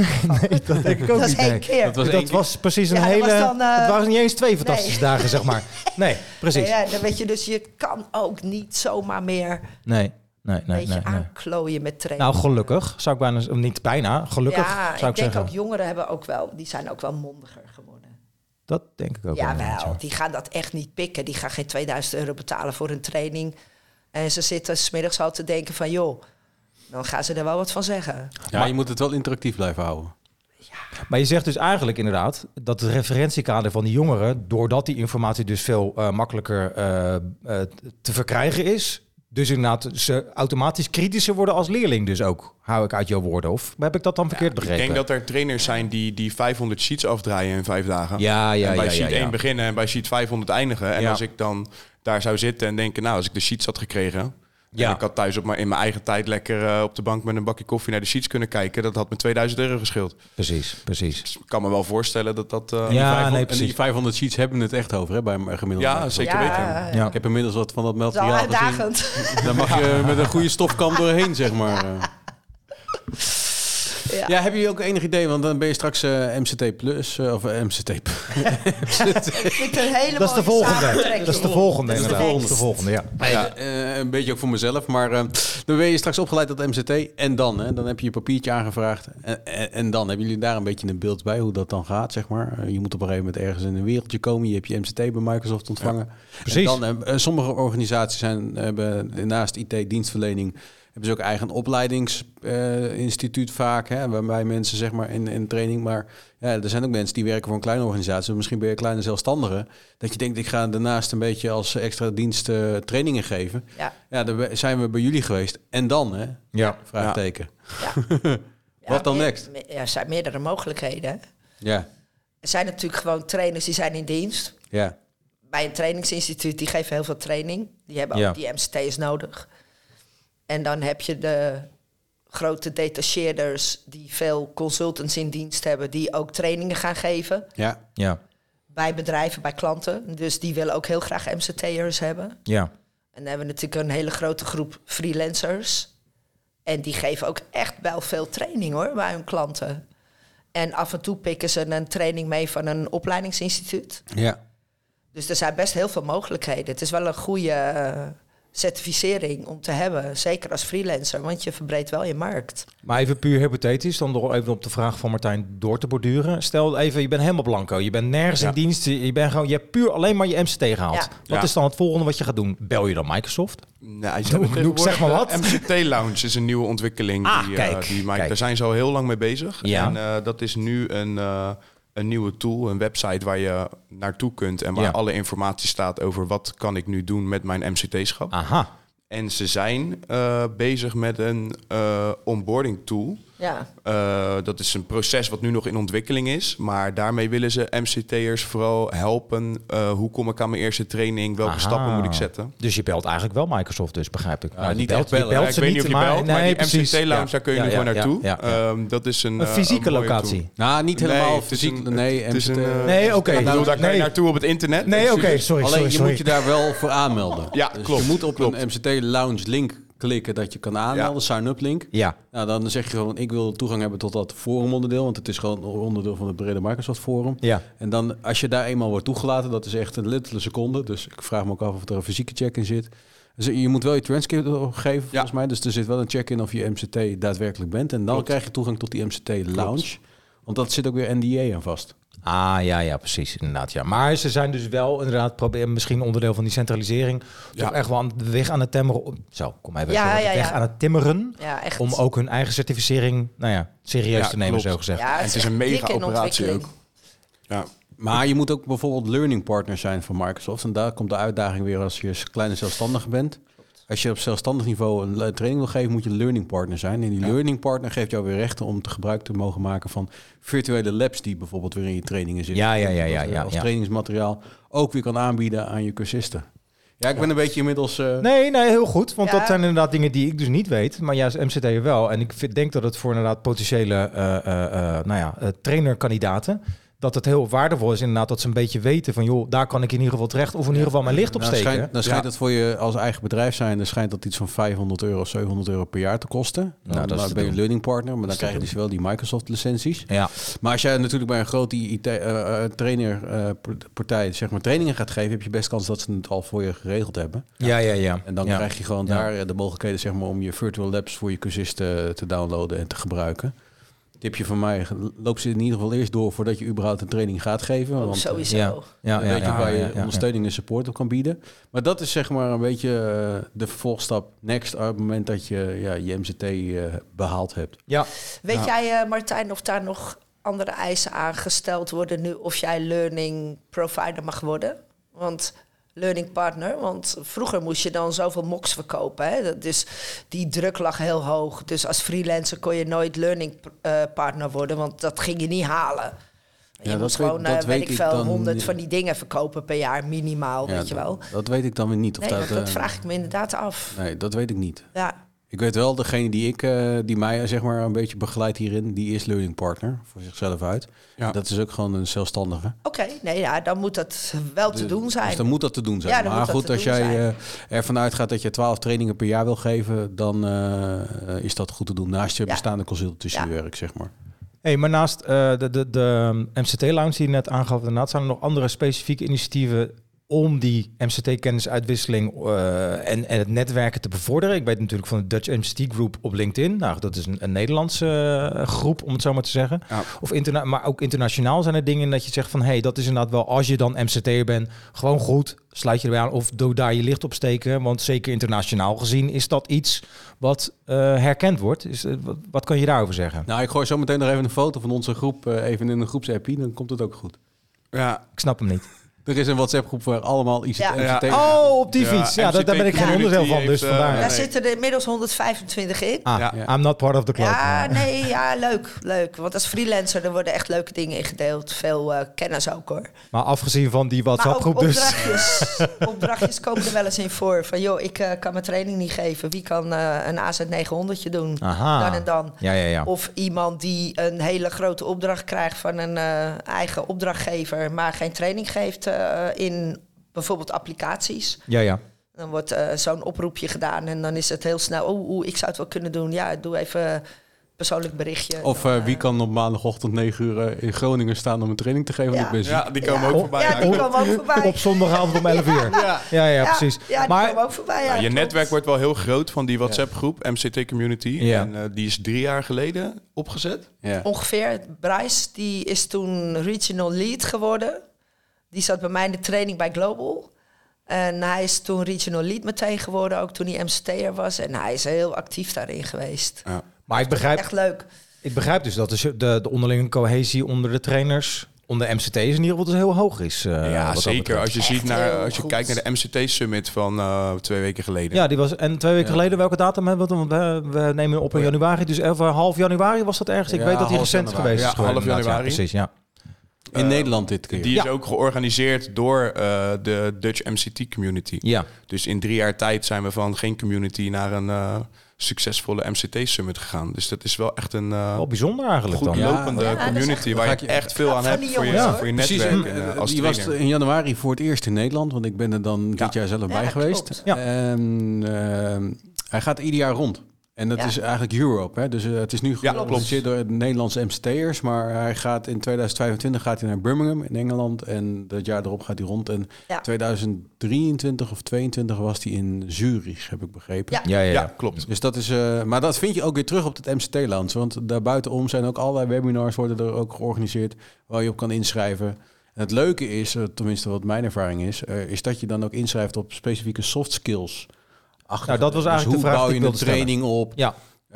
S6: dat denk ik ook
S7: dat is
S6: niet, nee.
S7: één keer.
S5: Dat was
S6: dat
S5: één-
S6: was precies een
S7: Ja, dat
S6: hele.
S7: was dan, eh,
S6: het waren niet eens twee fantastische
S7: nee.
S6: dagen, zeg maar. Nee, precies.
S7: Ja, dan weet je, dus je kan ook niet zomaar meer
S6: Nee. nee,
S7: een
S6: nee,
S7: beetje
S6: nee, nee.
S7: aanklooien met trainen.
S6: Nou, gelukkig zou ik bijna, z- niet bijna, gelukkig
S7: ja,
S6: zou
S7: ik
S6: ik,
S7: denk
S6: zeggen.
S7: ook jongeren hebben ook wel, die zijn ook wel mondiger geworden.
S6: dat denk ik ook. wel, inderdaad,
S7: Jawel,
S6: ja.
S7: die gaan dat echt niet pikken. Die gaan geen 2000 euro betalen voor een training. En ze zitten smiddags al te denken van, joh, dan gaan ze er wel wat van zeggen.
S5: Ja, je moet het wel interactief blijven houden.
S6: Ah, Maar je zegt dus eigenlijk inderdaad dat het referentiekader van die jongeren, doordat die informatie dus veel eh, makkelijker eh, eh, te verkrijgen is, dus inderdaad ze automatisch kritischer worden als leerling dus ook, hou ik uit jouw woorden. Of heb ik dat dan verkeerd
S8: Ik
S6: begrepen?
S8: denk dat er trainers zijn die, die 500 sheets afdraaien in vijf dagen.
S6: Ja, ja,
S8: en bij
S6: ja, ja,
S8: sheet
S6: ja.
S8: 1 beginnen en bij sheet 500 eindigen. En
S6: Ja.
S8: als ik dan daar zou zitten en denken, nou, als ik de sheets had gekregen...
S6: Ja.
S8: En ik had thuis op mijn, in mijn eigen tijd lekker eh, op de bank met een bakje koffie naar de sheets kunnen kijken. Dat had me 2000 euro geschild.
S6: Precies, precies.
S8: Dus ik kan me wel voorstellen dat dat... eh,
S6: Ja,
S5: Die 500
S6: nee,
S5: Oh, En
S6: precies.
S5: die 500 sheets hebben het echt over, hè, bij een gemiddelde.
S8: ja,
S5: maker.
S8: zeker weten.
S7: ja,
S6: Ja.
S5: Ik heb inmiddels wat van dat
S7: dat is wel
S5: materiaal gezien.
S7: uitdagend. (laughs)
S5: Daar mag
S6: (laughs)
S5: je met een goede stofkam doorheen, zeg maar. Ja.
S7: Ja.
S5: hebben jullie ook enig idee? Want dan ben je straks eh, MCT Plus eh, of eh, MCT.
S7: Vind een hele
S6: Dat is de
S7: mooie
S6: volgende.
S7: samentrekking.
S6: Dat is de volgende
S7: Dat is de
S6: inderdaad. Dat is de
S7: volgende.
S6: volgende, ja.
S5: Ja. eh, een beetje ook voor mezelf, maar eh, dan ben je straks opgeleid tot MCT en dan, hè, dan heb je je papiertje aangevraagd en, en, en dan hebben jullie daar een beetje een beeld bij hoe dat dan gaat, zeg maar. Eh, je moet op een gegeven moment ergens in een wereldje komen, je hebt je MCT bij Microsoft ontvangen.
S6: precies.
S5: En dan, eh, sommige organisaties zijn, hebben naast IT-dienstverlening hebben ze ook eigen opleidingsinstituut vaak, hè, waarbij mensen zeg maar in, in training, maar ja, er zijn ook mensen die werken voor een kleine organisatie, of misschien ben je een kleine zelfstandige, dat je denkt ik ga daarnaast een beetje als extra dienst eh, trainingen geven.
S7: Ja.
S5: Ja, daar we- zijn we bij jullie geweest. En dan, hè?
S6: Ja.
S5: Vraagteken.
S7: Ja,
S5: (laughs) Wat dan
S7: meer-
S5: next?
S7: me- Ja, er zijn meerdere mogelijkheden. hè.
S5: Ja,
S7: Er zijn natuurlijk gewoon trainers die zijn in dienst.
S5: ja.
S7: Bij een trainingsinstituut, die geven heel veel training. Die hebben
S6: Ja.
S7: ook die MCT's nodig. En dan heb je de grote detacheerders die veel consultants in dienst hebben... die ook trainingen gaan geven
S5: Ja,
S6: Ja,
S7: bij bedrijven, bij klanten. Dus die willen ook heel graag MCT'ers hebben.
S6: ja.
S7: En dan hebben we natuurlijk een hele grote groep freelancers. En die geven ook echt wel veel training hoor, bij hun klanten. En af en toe pikken ze een training mee van een opleidingsinstituut.
S5: ja.
S7: Dus er zijn best heel veel mogelijkheden. Het is wel een goede eh, certificering om te hebben, zeker als freelancer, want je verbreedt wel je markt.
S6: Maar even puur hypothetisch, dan door even op de vraag van Martijn door te borduren. Stel even, je bent helemaal blanco, je bent nergens in dienst, je, bent gewoon, je hebt puur alleen maar je MCT gehaald.
S7: Ja.
S6: Wat
S8: Ja.
S6: is dan het volgende wat je gaat doen? Bel je dan Microsoft?
S8: Nou, ze
S6: Doe-
S8: hebben
S6: doe ik zeg maar wat.
S8: tegenwoordig de MCT Lounge is een nieuwe ontwikkeling.
S6: Ah,
S8: die, eh,
S6: kijk,
S8: die Mike,
S6: kijk.
S8: Daar zijn ze al heel lang mee bezig.
S6: Ja.
S8: En eh, dat is nu een, eh, een nieuwe tool, een website waar je naartoe kunt... en waar
S6: Ja.
S8: alle informatie staat over wat kan ik nu doen met mijn MCT-schap.
S6: Aha.
S8: En ze zijn eh, bezig met een eh, onboarding tool...
S7: Ja,
S8: Eh, dat is een proces wat nu nog in ontwikkeling is. Maar daarmee willen ze MCT'ers vooral helpen. eh, hoe kom ik aan mijn eerste training? Welke
S6: Aha.
S8: stappen moet ik zetten?
S6: Dus je belt eigenlijk wel Microsoft dus, begrijp ik. Nou, je
S5: niet
S6: belt,
S5: echt
S6: je
S5: bellen,
S6: belt
S8: Ja, ik
S6: ze
S8: weet
S6: niet,
S8: niet of je belt, maar, die
S6: precies.
S8: MCT-lounge,
S6: Ja.
S8: daar kun je
S6: Ja,
S8: nu gewoon
S6: ja,
S8: naartoe.
S6: ja, ja.
S8: Ehm, dat is een,
S6: Een
S8: eh,
S6: fysieke
S8: mooie
S6: locatie.
S5: Nou, niet
S8: tool.
S5: helemaal
S8: Nee, het is
S5: fysiek.
S8: een-
S5: nee,
S8: het is
S5: MCT,
S8: een, eh,
S6: Nee,
S5: Nou,
S6: oké.
S8: ik bedoel, daar kan je
S6: Nee.
S8: naartoe op het internet.
S6: Nee, oké,
S8: Excuses.
S6: sorry,
S5: Alleen
S6: sorry,
S5: je
S6: sorry.
S5: moet je daar wel voor aanmelden.
S8: Ja,
S5: Dus
S8: klopt,
S5: Je moet op
S8: klopt.
S5: een MCT Lounge link klikken dat je kan aanmelden,
S8: Ja.
S5: sign-up link.
S6: Ja,
S5: Nou, dan zeg je gewoon, ik wil toegang hebben tot dat forumonderdeel, want het is gewoon onderdeel van het brede Microsoft Forum.
S6: ja.
S5: En dan, als je daar eenmaal wordt toegelaten, dat is echt een luttele seconde. Dus ik vraag me ook af of er een fysieke check in zit. Dus je moet wel je transcript opgeven, volgens mij. Dus er zit wel een check in of je MCT daadwerkelijk bent. En dan krijg je toegang tot die MCT-lounge. Want dat zit ook weer NDA aan vast.
S6: Ah, ja, ja, precies, inderdaad. Ja. Maar ze zijn dus wel inderdaad, probeer, misschien onderdeel van die centralisering, toch echt wel aan de weg aan het timmeren. Zo, kom even
S7: Ja,
S6: zo,
S7: ja,
S6: weg
S7: ja.
S6: aan het timmeren.
S7: ja echt.
S6: Om ook hun eigen certificering nou ja, serieus
S8: Ja,
S6: te nemen,
S8: klopt.
S6: zo gezegd.
S7: ja,
S8: het is een
S7: echt dik
S8: mega
S7: in
S8: operatie
S7: ontwikkeling.
S8: Ja.
S5: Maar je moet ook bijvoorbeeld learning partner zijn van Microsoft. En daar komt de uitdaging weer als je als kleine zelfstandige bent. Als je op zelfstandig niveau een le- training wil geven, moet je learning partner zijn. En die learning partner geeft jou weer rechten om te gebruik te mogen maken van virtuele labs die bijvoorbeeld weer in je trainingen zitten.
S6: Ja, ja, ja, ja,
S5: Als, eh,
S6: ja,
S5: als
S6: ja.
S5: trainingsmateriaal ook weer kan aanbieden aan je cursisten. Ja, ik ben een beetje inmiddels. eh,
S6: Nee, nee, heel goed. Want
S7: Ja.
S6: dat zijn inderdaad dingen die ik dus niet weet. Maar juist MCT wel. En ik vind, denk dat het voor inderdaad potentiële eh, eh, eh, nou ja, eh, trainerkandidaten... dat het heel waardevol is inderdaad dat ze een beetje weten van joh, daar kan ik in ieder geval terecht of in ieder geval mijn licht op
S5: Nou,
S6: steken.
S5: schijnt, dan schijnt het voor je als eigen bedrijf zijn, dan schijnt dat iets van 500 euro, 700 euro per jaar te kosten. Nou,
S6: dat
S5: dan
S6: is te
S5: ben je
S6: doen.
S5: learning partner, maar dan
S6: te
S5: krijg je
S6: doen.
S5: dus wel die Microsoft licenties.
S6: Ja.
S5: Maar als jij natuurlijk bij een grote eh, IT-trainer-partij zeg maar trainingen gaat geven, heb je best kans dat ze het al voor je geregeld hebben.
S6: Ja, ja, ja.
S5: En dan
S6: Ja.
S5: krijg je gewoon
S6: Ja.
S5: daar eh, de mogelijkheden zeg maar, om je virtual labs voor je cursisten te downloaden en te gebruiken. Tipje van mij, loop ze in ieder geval eerst door voordat je überhaupt een training gaat geven.
S7: Oh,
S5: want, eh,
S7: sowieso.
S6: Ja, ja,
S5: een
S6: ja,
S5: beetje
S6: ja,
S5: waar je
S6: ja, ja, ja.
S5: ondersteuning en support op kan bieden. Maar dat is zeg maar een beetje eh, de vervolgstap next op het moment dat je ja, je MCT eh, behaald hebt.
S6: Ja, Ja.
S7: Weet jij, eh, Martijn, of daar nog andere eisen aan gesteld worden nu of jij learning provider mag worden? Want learning partner, want vroeger moest je dan zoveel mox verkopen. Hè? Dat- Dus die druk lag heel hoog. Dus als freelancer kon je nooit learning eh, partner worden, want dat ging je niet halen. Je
S5: Ja, dat
S7: moest
S5: weet-
S7: gewoon, eh,
S5: dat
S7: weet,
S5: weet
S7: ik
S5: ik
S7: veel,
S5: dan
S7: honderd
S5: niet.
S7: van die dingen verkopen per jaar, minimaal,
S5: Ja,
S7: weet je wel.
S5: Dat, dat weet ik dan weer niet. Of
S7: Nee,
S5: dat,
S7: dat, dat
S5: eh,
S7: vraag ik me inderdaad af.
S5: Nee, dat weet ik niet.
S7: Ja,
S5: Ik weet wel, degene die, ik, eh, die mij eh, zeg maar een beetje begeleidt hierin, die is learning partner voor zichzelf uit.
S8: Ja.
S5: Dat is ook gewoon een zelfstandige.
S7: oké. Nee, ja, dan moet dat wel te doen zijn.
S5: Dus dan moet dat te doen zijn.
S7: Ja, dan
S5: maar
S7: moet dat
S5: goed,
S7: te
S5: als
S7: doen
S5: jij
S7: zijn.
S5: eh ervan uitgaat dat je twaalf trainingen per jaar wil geven, dan eh, is dat goed te doen naast je
S7: Ja.
S5: bestaande consultancywerk,
S7: Ja.
S5: werk, zeg maar.
S6: Hey, maar naast eh, de, de, de MCT-lounge die je net aangaf, daarnaast zijn er nog andere specifieke initiatieven om die MCT-kennisuitwisseling eh, en, en het netwerken te bevorderen. Ik weet natuurlijk van de Dutch MCT Group op LinkedIn. Nou, dat is een, een Nederlandse eh, groep, om het zo maar te zeggen.
S8: Ja.
S6: Of interna maar ook internationaal zijn er dingen dat je zegt van... hé, hey, dat is inderdaad wel, als je dan MCT'er bent, gewoon goed, sluit je erbij aan... of doe daar je licht op steken, want zeker internationaal gezien is dat iets wat eh, herkend wordt. Is, eh, wat, wat kan je daarover zeggen?
S5: Nou, ik gooi zo meteen nog even een foto van onze groep eh, even in een groepsappie, dan komt het ook goed.
S8: Ja,
S6: Ik snap hem niet.
S5: Er is een WhatsApp-groep waar allemaal ICT...
S7: Ja.
S5: MCT
S6: Oh, op die
S8: Ja,
S6: fiets. Ja,
S8: MCT
S6: dat, daar ben ik geen
S8: community
S6: onderdeel van, dus
S8: heeft, eh,
S6: vandaar.
S7: Daar
S8: Nee.
S7: zitten er inmiddels 125 in.
S6: ah,
S5: ja.
S6: I'm not part of the club.
S7: ja,
S6: Ja,
S7: nee, ja, leuk, leuk. Want als freelancer, er worden echt leuke dingen ingedeeld. Veel eh, kennis ook hoor.
S6: Maar afgezien van die
S7: Maar ook
S6: WhatsApp-groep dus. (laughs)
S7: opdrachtjes. opdrachtjes komen er wel eens in voor. Van joh, ik eh, kan mijn training niet geven. Wie kan eh, een AZ900 doen?
S6: Aha.
S7: Dan en dan.
S6: Ja, ja, ja.
S7: Of iemand die een hele grote opdracht krijgt van een eh, eigen opdrachtgever, maar geen training geeft eh, in bijvoorbeeld applicaties.
S6: Ja, ja.
S7: Dan wordt eh, zo'n oproepje gedaan en dan is het heel snel. Oeh, oeh, ik zou het wel kunnen doen. Ja, doe even eh, persoonlijk berichtje.
S5: Of eh, wie kan op maandagochtend 9 uur eh, in Groningen staan om een training te geven? Want
S7: Ja.
S5: Ik ben ziek.
S8: ja die komen ook
S6: oh,
S7: Ja. Ja,
S8: voorbij.
S7: die
S8: Ja,
S7: kwam ook voorbij.
S6: Op zondagavond om 11 uur. Ja, ja,
S7: (laughs) Ja,
S6: precies.
S7: Ja, die
S6: maar,
S7: kwam ook voorbij. Ja,
S8: Nou, je
S7: klopt.
S8: netwerk wordt wel heel groot van die WhatsApp-groep, MCT Community.
S6: Ja.
S8: En eh, die is drie jaar geleden opgezet.
S5: Ja.
S7: Ongeveer. Bryce, die is toen regional lead geworden. Die zat bij mij in de training bij Global. En hij is toen regional lead meteen geworden, ook toen hij MCT'er was. En hij is heel actief daarin geweest.
S6: maar ik, begrijp,
S7: Echt leuk.
S6: ik begrijp dus dat de, de, de onderlinge cohesie onder de trainers, onder de MCT's in ieder geval, dus heel hoog is. eh, wat
S8: ja,
S6: dat
S8: zeker.
S6: betreft.
S8: Als je,
S7: Echt
S8: ziet naar,
S7: heel
S8: als je
S7: goed.
S8: kijkt naar de MCT-summit van eh, twee weken geleden.
S6: Ja, die was, en twee weken
S5: Ja.
S6: geleden, welke datum hebben we? Want we, we nemen op in
S5: Oh, ja.
S6: januari, dus even half januari was dat ergens. Ik
S5: Ja,
S6: weet dat die
S5: half
S6: recent
S5: januari.
S6: geweest is.
S8: Ja,
S6: geworden,
S8: half
S6: inderdaad.
S8: januari.
S6: Ja, precies, ja.
S5: In Nederland dit keer.
S8: Eh, Die is
S6: Ja.
S8: ook georganiseerd door eh, de Dutch MCT Community.
S6: Ja.
S8: Dus in drie jaar tijd zijn we van geen community naar een eh, succesvolle MCT-summit gegaan. Dus dat is wel echt een eh,
S6: Wel bijzonder eigenlijk
S8: goed
S6: dan.
S5: Ja,
S8: lopende
S5: Ja,
S7: dat is
S8: community
S7: echt-
S8: waar
S5: Ga ik
S8: je
S5: je-
S8: echt veel aan
S7: Van
S8: hebt
S7: die
S8: voor je,
S7: jongens,
S8: voor je
S5: Precies,
S8: netwerk
S5: en,
S8: en, eh,
S5: eh,
S8: als
S5: die was
S8: trainer.
S5: in januari voor het eerst in Nederland, want ik ben er dan dit jaar zelf bij
S7: dat
S5: geweest.
S7: klopt.
S6: Ja.
S5: En, ehm, hij gaat ieder jaar rond. En dat
S7: Ja.
S5: is eigenlijk Europe. Hè? Dus eh, het is nu
S8: klopt.
S5: georganiseerd door de Nederlandse MCT'ers. Maar hij gaat in 2025 gaat hij naar Birmingham in Engeland. En dat jaar erop gaat hij rond. En
S7: Ja.
S5: 2023 of 2022 was hij in Zurich, heb ik begrepen.
S7: Ja.
S6: Ja, ja,
S8: Ja,
S6: ja.
S8: klopt.
S5: Dus dat is, eh, maar dat vind je ook weer terug op het MCT-lounge. Want daarbuitenom zijn ook allerlei webinars worden er ook georganiseerd waar je op kan inschrijven. En het leuke is, eh, tenminste wat mijn ervaring is, eh, is dat je dan ook inschrijft op specifieke soft skills. Achter.
S6: Nou, dat was eigenlijk de
S5: hoe
S6: vraag
S5: bouw
S6: die
S5: je
S6: ik
S5: een
S6: wilde stellen.
S5: training op?
S6: Ja,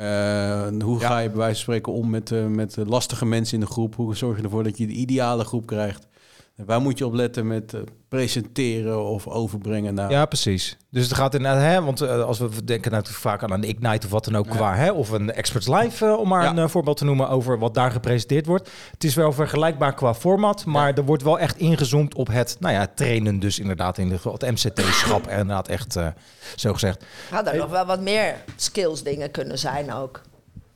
S5: Eh, hoe
S8: Ja.
S5: ga je bij wijze van spreken om met, eh, met eh, lastige mensen in de groep? Hoe zorg je ervoor dat je de ideale groep krijgt? En waar moet je op letten met eh, presenteren of overbrengen? Nou,
S6: ja, precies. Dus het gaat inderdaad, hè, want eh, als we denken natuurlijk vaak aan een Ignite of wat dan ook qua, hè, of een Experts Live, eh, om maar
S5: Ja.
S6: een eh, voorbeeld te noemen over wat daar gepresenteerd wordt. Het is wel vergelijkbaar qua format, maar er wordt wel echt ingezoomd op het, nou ja, trainen dus inderdaad in de, het MCT-schap inderdaad echt eh, zo gezegd.
S7: Had er nog wel wat meer skills dingen kunnen zijn ook.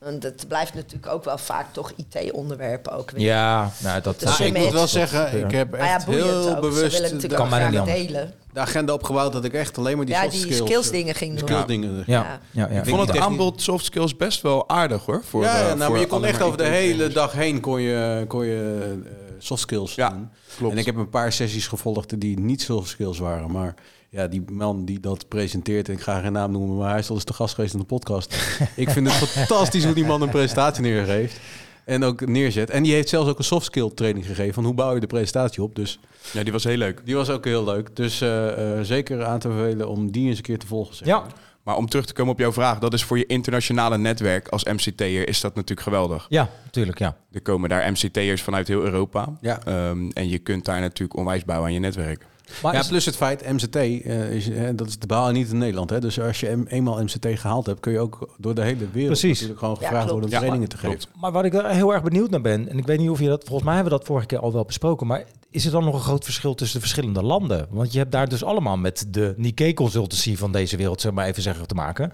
S7: Want het blijft natuurlijk ook wel vaak toch IT-onderwerpen ook weer.
S6: Ja, nou, dat
S7: Dus
S5: Nou, ik moet wel zeggen,
S6: eh,
S5: ik heb
S7: Maar ja,
S5: echt
S7: boeiend
S5: heel
S7: ook. Ze willen
S5: bewust eh,
S7: natuurlijk
S5: de,
S6: kan
S7: ook
S6: bijna
S7: graag
S6: niet
S7: delen.
S5: de agenda opgebouwd dat ik echt alleen maar die,
S7: ja,
S5: soft
S7: die
S5: skills, eh,
S7: skills dingen ging doen.
S5: skills dingen.
S8: eh,
S6: Ja,
S7: Ja.
S6: ja, ja.
S8: Ik vond het
S5: technisch-
S8: aanbod soft skills best wel aardig hoor. Voor,
S5: ja,
S8: eh,
S5: ja, nou,
S8: voor
S5: maar je kon
S8: alle
S5: echt over de
S8: marketing-
S5: hele dag heen kon je, kon je eh, soft skills
S8: Ja,
S5: doen.
S8: klopt.
S5: En ik heb een paar sessies gevolgd die niet soft skills waren. Maar ja, die man die dat presenteert, en ik ga geen naam noemen, maar hij is al eens te gast geweest in de
S8: (laughs)
S5: podcast. ik vind het fantastisch hoe die man een presentatie neergeeft. En ook neerzet. En die heeft zelfs ook een soft skill training gegeven van hoe bouw je de presentatie op. Dus
S8: Ja, die was heel leuk.
S5: die was ook heel leuk. Dus eh, eh, zeker aan te bevelen om die eens een keer te volgen. zeg
S6: Ja,
S5: maar.
S8: Maar om terug te komen op jouw vraag, dat is voor je internationale netwerk als MCT'er is dat natuurlijk geweldig.
S6: ja, natuurlijk, ja.
S8: Er komen daar MCT'ers vanuit heel Europa.
S5: Ja.
S8: Ehm, en je kunt daar natuurlijk onwijs bouwen aan je netwerk.
S6: Maar
S5: ja,
S6: is-
S5: plus het feit, MCT, eh, is, hè, dat is de baal niet in Nederland. Hè? Dus als je M- eenmaal MCT gehaald hebt, kun je ook door de hele wereld
S6: Precies.
S5: natuurlijk gewoon gevraagd
S7: klopt.
S5: worden om
S8: Ja,
S5: trainingen te geven.
S8: klopt.
S6: Maar wat ik wel heel erg benieuwd naar ben, en ik weet niet of je dat, volgens mij hebben we dat vorige keer al wel besproken, maar is er dan nog een groot verschil tussen de verschillende landen? Want je hebt daar dus allemaal met de Nikkei consultancy van deze wereld, zeg maar even zeggen, te maken.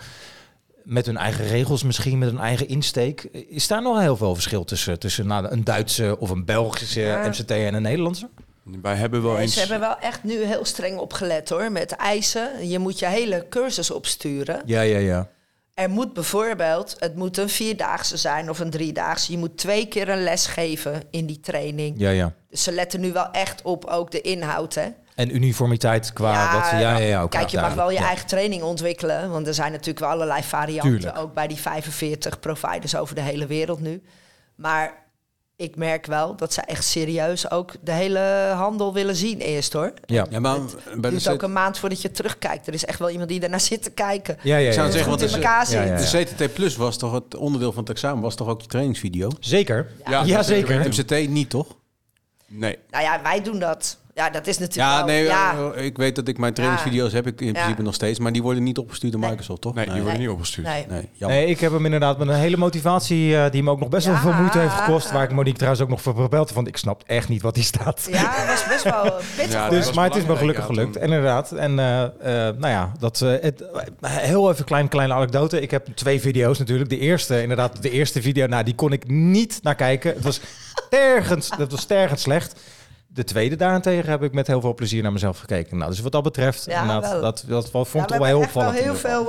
S6: Met hun eigen regels misschien, met hun eigen insteek. Is daar nog heel veel verschil tussen, tussen nou, een Duitse of een Belgische
S7: Ja.
S6: MCT en een Nederlandse?
S8: Wij hebben wel
S7: Nee,
S8: eens...
S7: Dus ze hebben wel echt nu heel streng opgelet hoor, met eisen. Je moet je hele cursus opsturen.
S6: Ja, ja, ja.
S7: Er moet bijvoorbeeld, het moet een vierdaagse zijn of een driedaagse. Je moet twee keer een les geven in die training.
S6: Ja, ja.
S7: Dus ze letten nu wel echt op ook de inhoud hè.
S6: En uniformiteit qua wat... Ja, ja, ja. oké,
S7: Kijk, je mag
S6: duidelijk.
S7: wel je
S6: Ja.
S7: eigen training ontwikkelen. Want er zijn natuurlijk wel allerlei varianten.
S6: Tuurlijk.
S7: Ook bij die 45 providers over de hele wereld nu. Maar ik merk wel dat ze echt serieus ook de hele handel willen zien eerst hoor.
S6: Ja,
S5: Ja, maar bij de
S7: Het
S5: CT
S7: duurt ook een maand voordat je terugkijkt. Er is echt wel iemand die ernaar zit te kijken.
S6: ja, ja,
S5: Ik zou
S6: ja.
S5: zeggen,
S7: Goed
S5: want
S7: in
S5: is-
S7: elkaar zit.
S6: ja,
S5: de
S6: ja.
S5: CTT Plus was toch het onderdeel van het examen, was toch ook je trainingsvideo?
S6: Zeker.
S8: Ja,
S6: Ja, zeker.
S5: MCT niet, toch?
S8: Nee,
S7: Nou ja, wij doen dat. Ja, dat is natuurlijk
S5: Ja,
S7: wel-
S5: nee,
S7: ja.
S5: eh, ik weet dat ik mijn trainingsvideo's heb ik in principe nog steeds, maar die worden niet opgestuurd door
S7: Nee.
S5: Microsoft, toch?
S8: nee, die worden niet opgestuurd.
S7: Nee.
S5: Nee, jammer.
S6: Nee, ik heb hem inderdaad met een hele motivatie eh, die me ook nog best wel
S7: Ja.
S6: veel moeite heeft gekost. Waar ik Monique trouwens ook nog voor gebeld want ik snap echt niet wat hier staat.
S7: Ja, dat was best wel eh, pittig.
S8: Ja,
S7: hoor.
S8: dat
S6: dus,
S8: was
S6: maar het is me
S8: belangrijk,
S6: gelukkig
S8: ja,
S6: gelukt.
S8: toen-
S6: En inderdaad, en eh, eh, nou ja, dat, eh, het, heel even een klein, kleine anekdote. Ik heb twee video's natuurlijk. De eerste, inderdaad, de eerste video, nou, die kon ik niet naar kijken. Het
S7: (laughs)
S6: was tergend, dat was tergend slecht. De tweede daarentegen heb ik met heel veel plezier naar mezelf gekeken. Nou, dus wat dat betreft,
S7: Ja,
S6: inderdaad,
S7: wel.
S6: dat, dat vond
S7: Ja,
S6: ik
S7: we
S6: wel heel
S7: hebben echt wel
S6: opvallend.
S7: heel veel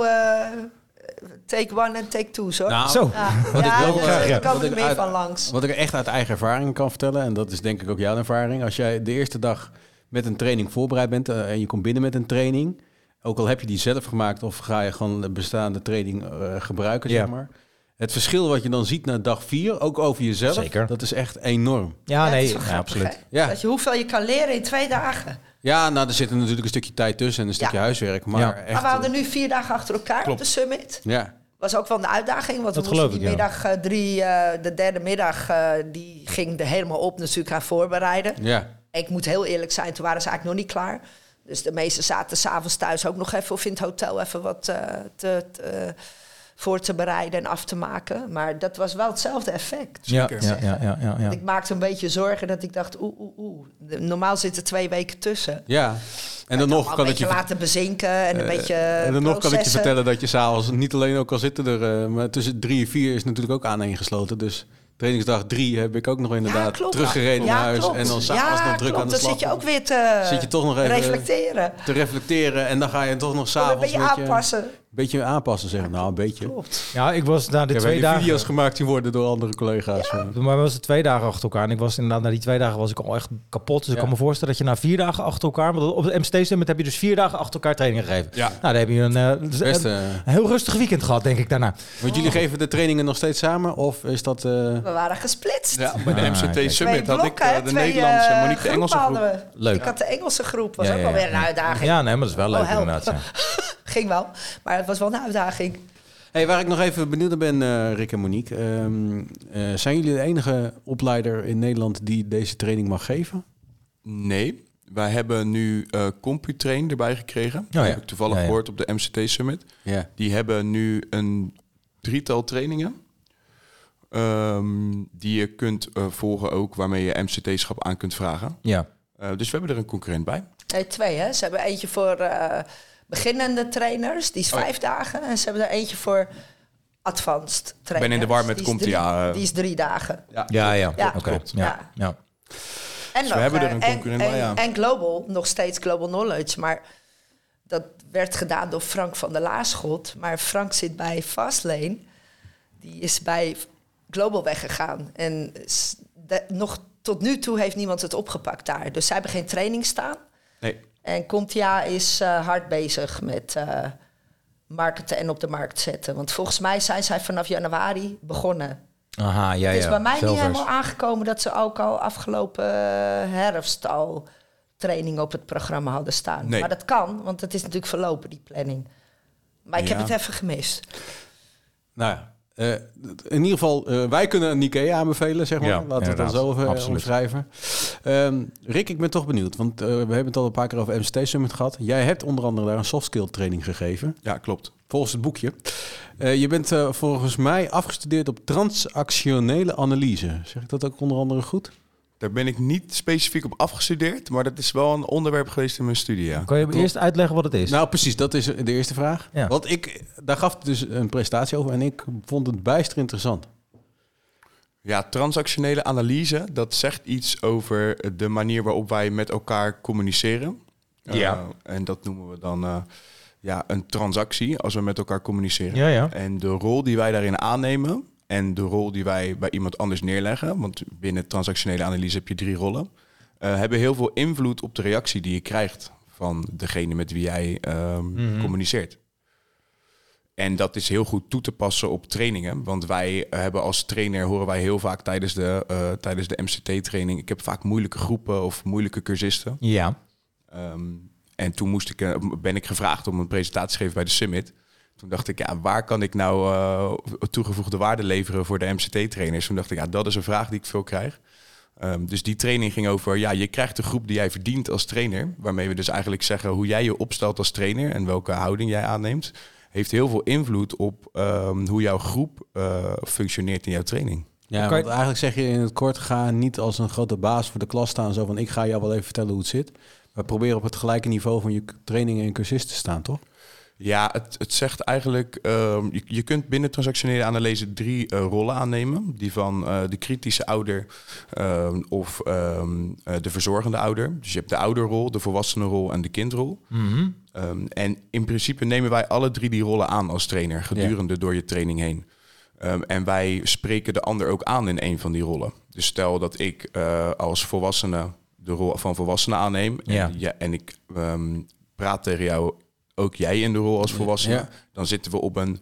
S7: eh, take one en take two's hoor.
S5: Nou,
S6: Zo,
S7: ja,
S5: wat ik
S7: ja,
S5: wel
S7: dus
S5: graag
S7: er
S5: heb,
S7: komen
S5: wat
S7: er
S5: ik
S7: meer
S5: uit-
S7: van langs.
S5: Wat ik echt uit eigen ervaring kan vertellen, en dat is denk ik ook jouw ervaring. Als jij de eerste dag met een training voorbereid bent eh, en je komt binnen met een training, ook al heb je die zelf gemaakt of ga je gewoon de bestaande training eh, gebruiken,
S6: Ja.
S5: zeg maar. Het verschil wat je dan ziet na dag vier, ook over jezelf,
S6: Zeker.
S5: dat is echt enorm.
S6: ja,
S7: het
S6: nee,
S7: is wel
S6: ja,
S7: grappig,
S6: absoluut.
S7: hè?
S5: Ja.
S7: Dat je hoeveel je kan leren in twee dagen.
S5: Ja, nou, er zit er natuurlijk een stukje tijd tussen en een stukje
S7: Ja.
S5: huiswerk, maar
S6: Ja.
S5: echt... eh,
S7: maar we hadden nu vier dagen achter elkaar op de summit.
S5: ja.
S7: Was ook wel een uitdaging,
S6: Dat
S7: want we moesten
S6: geloof
S7: die
S6: ik, ja.
S7: middag eh, drie, eh, de derde middag, eh, die ging er helemaal op natuurlijk aan voorbereiden.
S5: Ja.
S7: Ik moet heel eerlijk zijn, toen waren ze eigenlijk nog niet klaar. Dus de meesten zaten s'avonds thuis ook nog even of in het hotel even wat eh, te, te, eh, voor te bereiden en af te maken. Maar dat was wel hetzelfde effect.
S6: Ja, ja, ja, ja, ja, ja.
S7: Ik maakte een beetje zorgen dat ik dacht, oeh, oeh, oeh. De- Normaal zitten twee weken tussen.
S5: ja. En dan nog
S7: Al
S5: kan
S7: een
S5: ik
S7: beetje
S5: je... Eh,
S7: laten bezinken en een beetje
S5: En dan nog kan ik je
S7: Eh, processen.
S5: vertellen dat je s'avonds niet alleen ook al zitten er, eh, maar tussen drie en vier is natuurlijk ook aaneengesloten. Dus trainingsdag drie heb ik ook nog inderdaad
S7: klopt.
S5: teruggereden
S7: Ja,
S5: naar huis
S7: klopt.
S5: en dan
S7: Ja,
S5: s'avonds nog druk
S7: klopt.
S5: aan de
S7: Dan
S5: slag.
S7: zit je ook weer te
S5: Zit je toch nog even-
S7: reflecteren.
S5: Te reflecteren en dan ga je toch nog
S7: Dan
S5: s'avonds
S7: een beetje aanpassen.
S5: Een beetje aanpassen zeggen. Nou, een beetje.
S7: Klopt.
S6: Ja, ik was na de
S5: Ik heb
S6: twee
S5: hele
S6: dagen.
S5: video's gemaakt die worden door andere collega's.
S6: Maar was het twee dagen achter elkaar. En ik was inderdaad, na die twee dagen was ik al echt kapot. Dus ik
S5: Ja.
S6: kan me voorstellen dat je na vier dagen achter elkaar. Want op het MCT Summit heb je dus vier dagen achter elkaar training gegeven.
S8: Ja.
S6: Nou, dan heb je een, eh, dus
S5: Best,
S6: een-
S5: eh,
S6: een heel rustig weekend gehad, denk ik daarna.
S5: Want jullie geven de trainingen nog steeds samen of is dat... eh,
S7: We waren gesplitst.
S8: Ja, bij de
S6: Ah,
S8: MCT
S6: kijk.
S8: Summit
S7: twee
S8: had ik
S7: blokken,
S8: eh,
S7: hè,
S8: de
S7: twee,
S8: Nederlandse,
S7: eh,
S8: maar niet de
S7: groepen
S8: Engelse groep.
S7: hadden we.
S6: Leuk.
S7: Ik had de Engelse groep, was
S6: Ja,
S7: ook
S6: ja,
S7: wel
S6: ja.
S7: weer een uitdaging.
S6: Ja, nee, maar dat is wel leuk
S7: Oh, help.
S6: inderdaad. Ja.
S7: (laughs) Ging wel, maar het was wel een uitdaging.
S5: Hey, waar ik nog even benieuwd naar ben, eh, Rick en Monique. ehm, eh, zijn jullie de enige opleider in Nederland die deze training mag geven?
S8: Nee, wij hebben nu eh CompuTrain erbij gekregen. Dat
S6: ja.
S8: heb ik toevallig
S6: Ja, ja.
S8: gehoord op de MCT Summit.
S5: Ja.
S8: Die hebben nu een drietal trainingen. ehm, die je kunt eh, volgen ook, waarmee je MCT-schap aan kunt vragen.
S6: ja.
S8: Eh, dus we hebben er een concurrent bij.
S7: Nee, twee hè. Ze hebben eentje
S8: Oh
S7: voor eh, beginnende trainers, die is vijf dagen. En ze hebben er eentje voor advanced trainer.
S8: ben in de war met
S7: Die is
S8: komt-ie,
S7: drie-
S8: ja, eh.
S7: Die is drie dagen.
S6: Ja, ja.
S7: Ja,
S6: Oké.
S7: klopt.
S6: Ja.
S7: Ja.
S6: Ja.
S7: En,
S8: Dus we hebben
S7: eh,
S8: er een
S7: en-
S8: concurrent
S7: en,
S8: bij, ja.
S7: en Global, nog steeds Global Knowledge. Maar dat werd gedaan door Frank van der Laarschot. Maar Frank zit bij Fastlane. Die is bij Global weggegaan. En s- de- nog tot nu toe heeft niemand het opgepakt daar. Dus zij hebben geen training staan.
S8: Nee.
S7: En Contia is eh, hard bezig met eh, marketen en op de markt zetten. Want volgens mij zijn zij vanaf januari begonnen
S6: Aha, ja, ja.
S7: het is bij mij niet
S6: Zelfvers.
S7: helemaal aangekomen dat ze ook al afgelopen eh, herfst al training op het programma hadden staan.
S8: Nee.
S7: Maar dat kan, want het is natuurlijk verlopen, die planning. Maar ik
S8: Ja.
S7: heb het even gemist.
S5: Nou ja, eh, d- in ieder geval, eh, wij kunnen een IKEA aanbevelen, zeg maar.
S6: Ja,
S5: Laten we het dan
S6: inderdaad.
S5: zo even eh,
S6: Absoluut.
S5: omschrijven. Ehm, Rick, ik ben toch benieuwd, want eh, we hebben het al een paar keer over MCT Summit gehad. Jij hebt onder andere daar een soft skill training gegeven,
S8: Ja, klopt.
S5: volgens het boekje. Eh, je bent eh, volgens mij afgestudeerd op transactionele analyse. Zeg ik dat ook onder andere goed?
S8: Daar ben ik niet specifiek op afgestudeerd, maar dat is wel een onderwerp geweest in mijn studie. Ja.
S6: Kan je me eerst uitleggen wat het is?
S5: Nou, precies, dat is de eerste vraag.
S6: Ja.
S5: Want ik, daar gaf het dus een presentatie over en ik vond het bijster interessant.
S8: Ja, transactionele analyse, dat zegt iets over de manier waarop wij met elkaar communiceren.
S6: Ja.
S8: Eh, en dat noemen we dan eh, ja, een transactie als we met elkaar communiceren.
S6: ja, ja.
S8: En de rol die wij daarin aannemen en de rol die wij bij iemand anders neerleggen, want binnen transactionele analyse heb je drie rollen, eh, hebben heel veel invloed op de reactie die je krijgt van degene met wie jij ehm, communiceert. En dat is heel goed toe te passen op trainingen. Want wij hebben als trainer, horen wij heel vaak tijdens de, eh, tijdens de MCT-training... ik heb vaak moeilijke groepen of moeilijke cursisten.
S6: Ja.
S8: Ehm, en toen moest ik, eh, ben ik gevraagd om een presentatie te geven bij de Summit. Toen dacht ik, ja, waar kan ik nou eh, toegevoegde waarde leveren voor de MCT-trainers? Toen dacht ik, ja, dat is een vraag die ik veel krijg. Ehm, dus die training ging over, ja, je krijgt de groep die jij verdient als trainer. Waarmee we dus eigenlijk zeggen hoe jij je opstelt als trainer en welke houding jij aanneemt. Heeft heel veel invloed op ehm, hoe jouw groep eh, functioneert in jouw training.
S5: Ja,
S6: Kan je-
S5: want eigenlijk zeg je in het kort, ga niet als een grote baas voor de klas staan. Zo van, ik ga jou wel even vertellen hoe het zit. Maar probeer op het gelijke niveau van je k- trainingen en cursisten te staan, toch?
S8: Ja, het, het zegt eigenlijk, ehm, je, je kunt binnen transactionele analyse drie eh, rollen aannemen. Die van eh, de kritische ouder ehm, of ehm, eh, de verzorgende ouder. Dus je hebt de ouderrol, de volwassenenrol en de kindrol. Ehm, en in principe nemen wij alle drie die rollen aan als trainer, gedurende door je training heen. Ehm, en wij spreken de ander ook aan in een van die rollen. Dus stel dat ik eh, als volwassene de rol van volwassene aanneem en,
S6: Ja.
S8: ja, en ik ehm, praat tegen jou, ook jij in de rol als volwassene,
S5: Ja.
S8: dan zitten we op een,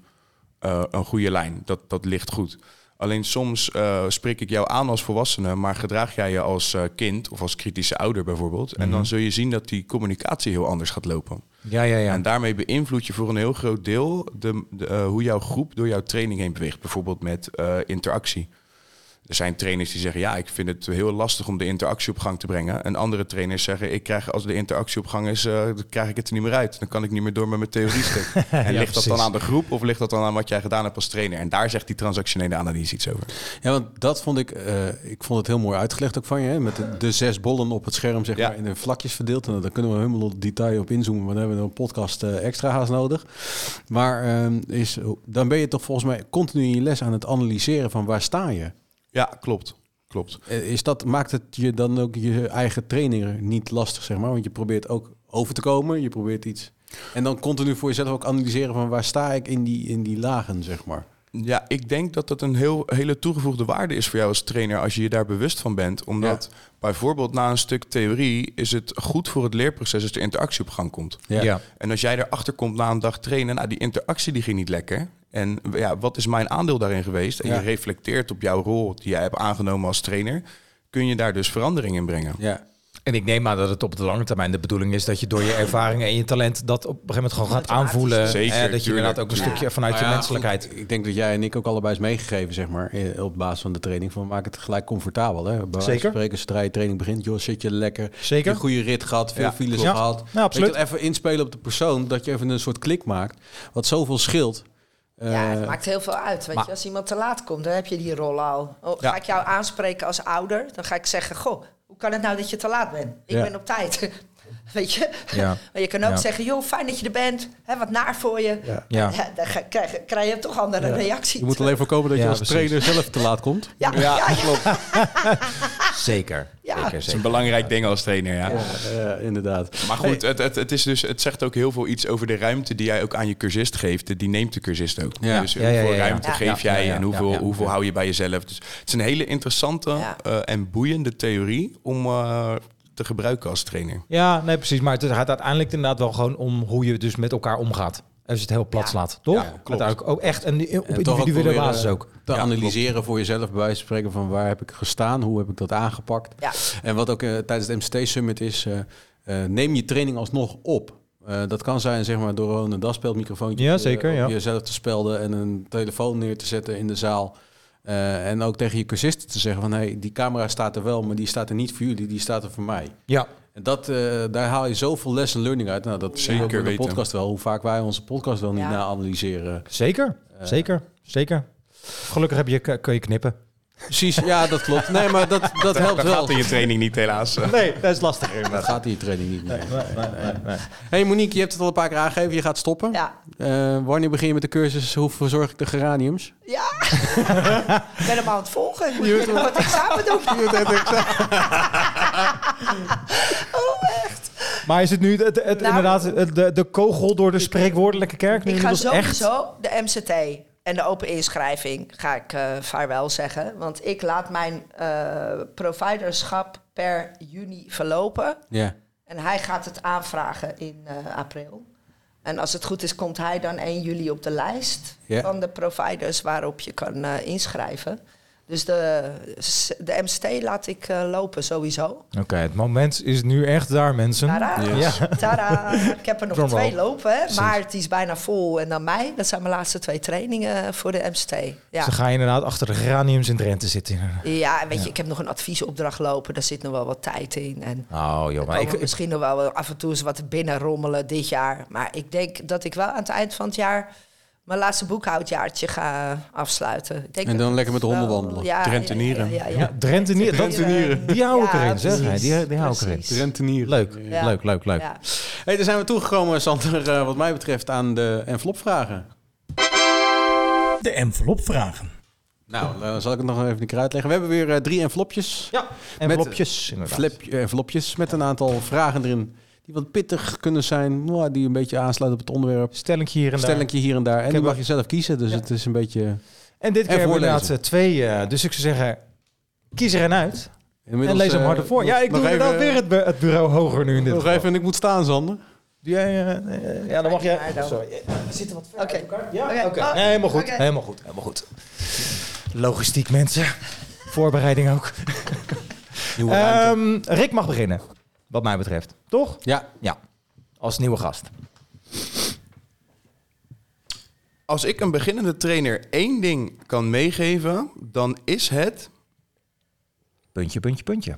S8: eh, een goede lijn. Dat, dat ligt goed. Alleen soms eh, spreek ik jou aan als volwassene, maar gedraag jij je als eh, kind of als kritische ouder bijvoorbeeld. En
S5: Mhm.
S8: dan zul je zien dat die communicatie heel anders gaat lopen.
S6: Ja, ja, ja.
S8: En daarmee beïnvloed je voor een heel groot deel de, de, eh, hoe jouw groep door jouw training heen beweegt. Bijvoorbeeld met eh, interactie. Er zijn trainers die zeggen, ja, ik vind het heel lastig om de interactie op gang te brengen. En andere trainers zeggen, ik krijg, als de interactie op gang is, eh, dan krijg ik het er niet meer uit. Dan kan ik niet meer door met mijn
S6: (laughs)
S8: theorie stuk. en ligt dat dan
S6: precies.
S8: aan de groep of ligt dat dan aan wat jij gedaan hebt als trainer? En daar zegt die transactionele analyse iets over.
S5: Ja, want dat vond ik, eh, ik vond het heel mooi uitgelegd ook van je. Hè? Met de, de zes bollen op het scherm, zeg
S8: Ja.
S5: maar, in de vlakjes verdeeld. En daar kunnen we helemaal op detail op inzoomen. Maar dan hebben we een podcast eh, extra haast nodig. Maar ehm, is, dan ben je toch volgens mij continu in je les aan het analyseren van waar sta je?
S8: Ja, klopt. Klopt.
S5: Eh, Is dat, maakt het je dan ook je eigen trainer niet lastig, zeg maar? Want je probeert ook over te komen, je probeert iets. En dan continu voor jezelf ook analyseren van waar sta ik in die, in die lagen, zeg maar.
S8: Ja, ik denk dat dat een heel, hele toegevoegde waarde is voor jou als trainer als je je daar bewust van bent. Omdat bijvoorbeeld na een stuk theorie is het goed voor het leerproces als de interactie op gang komt.
S5: Ja.
S6: Ja.
S8: En als jij erachter komt na een dag trainen, nou die interactie die ging niet lekker. En ja, wat is mijn aandeel daarin geweest? En
S5: Ja.
S8: je reflecteert op jouw rol die jij hebt aangenomen als trainer. Kun je daar dus verandering in brengen?
S5: Ja.
S6: En ik neem aan dat het op de lange termijn de bedoeling is dat je door je ervaringen en je talent dat op een gegeven moment gewoon gaat aanvoelen.
S8: Zeker,
S6: hè, dat je
S8: tuurlijk.
S6: inderdaad ook een stukje vanuit je
S5: Maar Nou ja,
S6: menselijkheid.
S5: goed, ik denk dat jij en ik ook allebei is meegegeven, zeg maar, eh, op basis van de training. Van maak het gelijk comfortabel. Hè? Bij wijze van
S6: Zeker.
S5: Spreken, zodra je training begint, joh, zit je lekker.
S6: Zeker.
S5: Een goede rit gehad, veel
S8: Ja,
S5: files
S6: klopt.
S5: gehad.
S6: Ja, absoluut.
S5: Weet je, even inspelen op de persoon, dat je even een soort klik maakt. Wat zoveel scheelt.
S7: ja, het
S5: Eh,
S7: maakt heel veel uit. Weet
S6: maar-
S7: je, als iemand te laat komt, dan heb je die rol al. Oh,
S8: Ja.
S7: Ga ik jou aanspreken als ouder, dan ga ik zeggen: Goh, hoe kan het nou dat je te laat bent? Ik
S5: Ja.
S7: ben op tijd. (laughs) Weet je?
S6: Ja.
S7: (laughs) Maar je kan ook
S6: Ja.
S7: zeggen, joh, fijn dat je er bent. Hè, wat naar voor je.
S2: Ja.
S6: Ja.
S7: Ja, dan ga- krijg, krijg je toch andere reacties.
S5: Je moet alleen voorkomen dat je
S6: Ja,
S5: als
S6: precies.
S5: trainer zelf te laat komt.
S7: (laughs) Ja, ja, ja,
S6: Zeker.
S7: Ja.
S6: Zeker,
S8: Dat is een
S6: zeker.
S8: belangrijk ding als trainer, ja.
S5: Ja, Eh, inderdaad.
S8: Maar goed, het, het, het, is dus, het zegt ook heel veel iets over de ruimte die jij ook aan je cursist geeft. Die neemt de cursist ook.
S5: Ja.
S8: Dus
S6: Ja, ja,
S8: hoeveel
S6: ja, ja.
S8: ruimte
S7: Ja.
S8: geef
S6: Ja,
S8: jij
S6: ja, ja.
S8: en hoeveel,
S6: Ja, ja.
S8: hoeveel hou je bij jezelf? Dus het is een hele interessante
S7: Ja.
S8: eh, en boeiende theorie om eh, te gebruiken als trainer.
S6: Ja, nee, precies. Maar het gaat uiteindelijk inderdaad wel gewoon om hoe je dus met elkaar omgaat. Als je het heel plat
S7: Ja.
S6: slaat, toch?
S5: Ja, klopt.
S6: Uiteindelijk ook echt en op
S5: toch ook
S6: individuele
S5: proberen
S6: basis ook.
S5: Te
S8: Ja,
S5: analyseren voor jezelf, bij wijze van spreken, van waar heb ik gestaan, hoe heb ik dat aangepakt.
S7: Ja.
S5: En wat ook eh, tijdens het MCT Summit is, eh, eh, neem je training alsnog op. Eh, dat kan zijn zeg maar, door gewoon een daspeldmicrofoontje
S6: Ja,
S5: eh,
S6: zeker,
S5: op
S6: ja.
S5: jezelf te spelden en een telefoon neer te zetten in de zaal. Eh, en ook tegen je cursisten te zeggen van, hey, die camera staat er wel, maar die staat er niet voor jullie, die staat er voor mij.
S6: Ja,
S5: En dat, eh, daar haal je zoveel lesson learning uit. Nou, dat zie je ook
S8: Zeker
S5: in de
S8: weten.
S5: podcast wel, hoe vaak wij onze podcast wel niet
S7: Ja.
S5: na-analyseren.
S6: zeker. Zeker, zeker. Gelukkig heb je, kun je knippen.
S5: Precies, ja, dat klopt. Nee, maar dat, dat helpt
S8: Dat
S5: wel.
S8: gaat in je training niet, (laughs) helaas.
S6: Nee, dat is (laughs) lastig inderdaad.
S5: Dat gaat in je training niet meer. Hey Monique, je hebt het al een paar keer aangegeven. Je gaat stoppen.
S7: ja.
S5: Eh, wanneer begin je met de cursus? Hoe verzorg ik de geraniums?
S7: ja. ik ben hem aan het volgen. Ik moet hier nog wat examen doen. oh, echt.
S6: Maar is het nu het, het,
S7: Nou,
S6: inderdaad het- de, de kogel door de spreekwoordelijke kerk? Nu
S7: Ik ga
S6: inmiddels echt?
S7: sowieso de MCT en de open inschrijving ga ik eh vaarwel zeggen. Want ik laat mijn eh, providerschap per juni verlopen.
S5: Ja.
S7: En hij gaat het aanvragen in eh, april. En als het goed is, komt hij dan 1 juli op de lijst
S5: Ja.
S7: van de providers waarop je kan eh, inschrijven. Dus de, de MCT laat ik eh, lopen sowieso.
S6: Oké, het moment is nu echt daar, mensen.
S7: Tada,
S5: Yes.
S7: (laughs) tada. Ik heb er nog
S6: Drumroll.
S7: twee lopen. Hè. Maart die is bijna vol en dan mei. Dat zijn mijn laatste twee trainingen voor de MCT. Ja,
S6: Dus dan ga je inderdaad achter de geraniums in Drenthe zitten.
S7: ja en weet je, ik heb nog een adviesopdracht lopen. Daar zit nog wel wat tijd in. En
S6: Oh joh,
S7: Maar misschien nog wel af en toe eens wat binnen rommelen dit jaar. Maar ik denk dat ik wel aan het eind van het jaar mijn laatste boekhoudjaartje ga afsluiten. Ik denk
S5: En
S7: dat
S5: dan lekker met de
S7: wel-
S5: honden wandelen.
S7: Ja,
S8: Drentenieren.
S7: Ja, ja, ja, ja.
S6: Ja, Drenthe niet. dat-
S7: Drentenieren.
S6: Die hou ik
S7: Ja,
S6: erin, zeg.
S7: precies,
S6: Die, die hou ik erin.
S7: precies.
S5: Rentenier.
S6: Leuk,
S7: Ja.
S6: leuk, leuk, leuk.
S7: Ja.
S5: Hey, daar zijn we toegekomen, Sander, eh, wat mij betreft, aan de envelopvragen.
S2: De envelop vragen.
S5: Nou, dan zal ik het nog even een keer uitleggen. We hebben weer eh, drie envelopjes.
S6: Ja, envelopjes inderdaad.
S5: Flap, eh, envelopjes met een aantal vragen erin. Die wat pittig kunnen zijn, maar die een beetje aansluiten op het onderwerp.
S6: Stelling hier en daar.
S5: Stellingje hier en daar. En die
S6: heb
S5: mag
S6: wel-
S5: je zelf kiezen, dus het is een beetje...
S6: En dit keer
S5: En
S6: hebben we
S5: voorlezen.
S6: inderdaad eh, twee. eh, dus ik zou zeggen, kies er een uit.
S5: Inmiddels,
S6: en lees hem
S5: eh,
S6: harder voor. Ja, ik
S5: nog
S6: doe inderdaad
S5: even- eh,
S6: weer het, bu- het bureau hoger nu in dit
S5: Nog
S6: geval.
S5: even, en ik moet staan, Sander.
S6: Doe jij, eh, eh, ja, dan mag jij... Sorry. eh, we zitten wat ver
S7: Oké.
S6: uit elkaar. Ja,
S7: Oké.
S6: oké.
S7: Oh,
S6: Nee, helemaal goed.
S7: oké.
S6: Helemaal goed. Helemaal goed. Logistiek, mensen. Voorbereiding ook.
S5: Nieuwe ruimte.
S6: Ehm, Rick mag beginnen, wat mij betreft. Toch?
S5: Ja,
S6: Ja. Als nieuwe gast.
S8: Als ik een beginnende trainer één ding kan meegeven, dan is het...
S6: Puntje, puntje, puntje.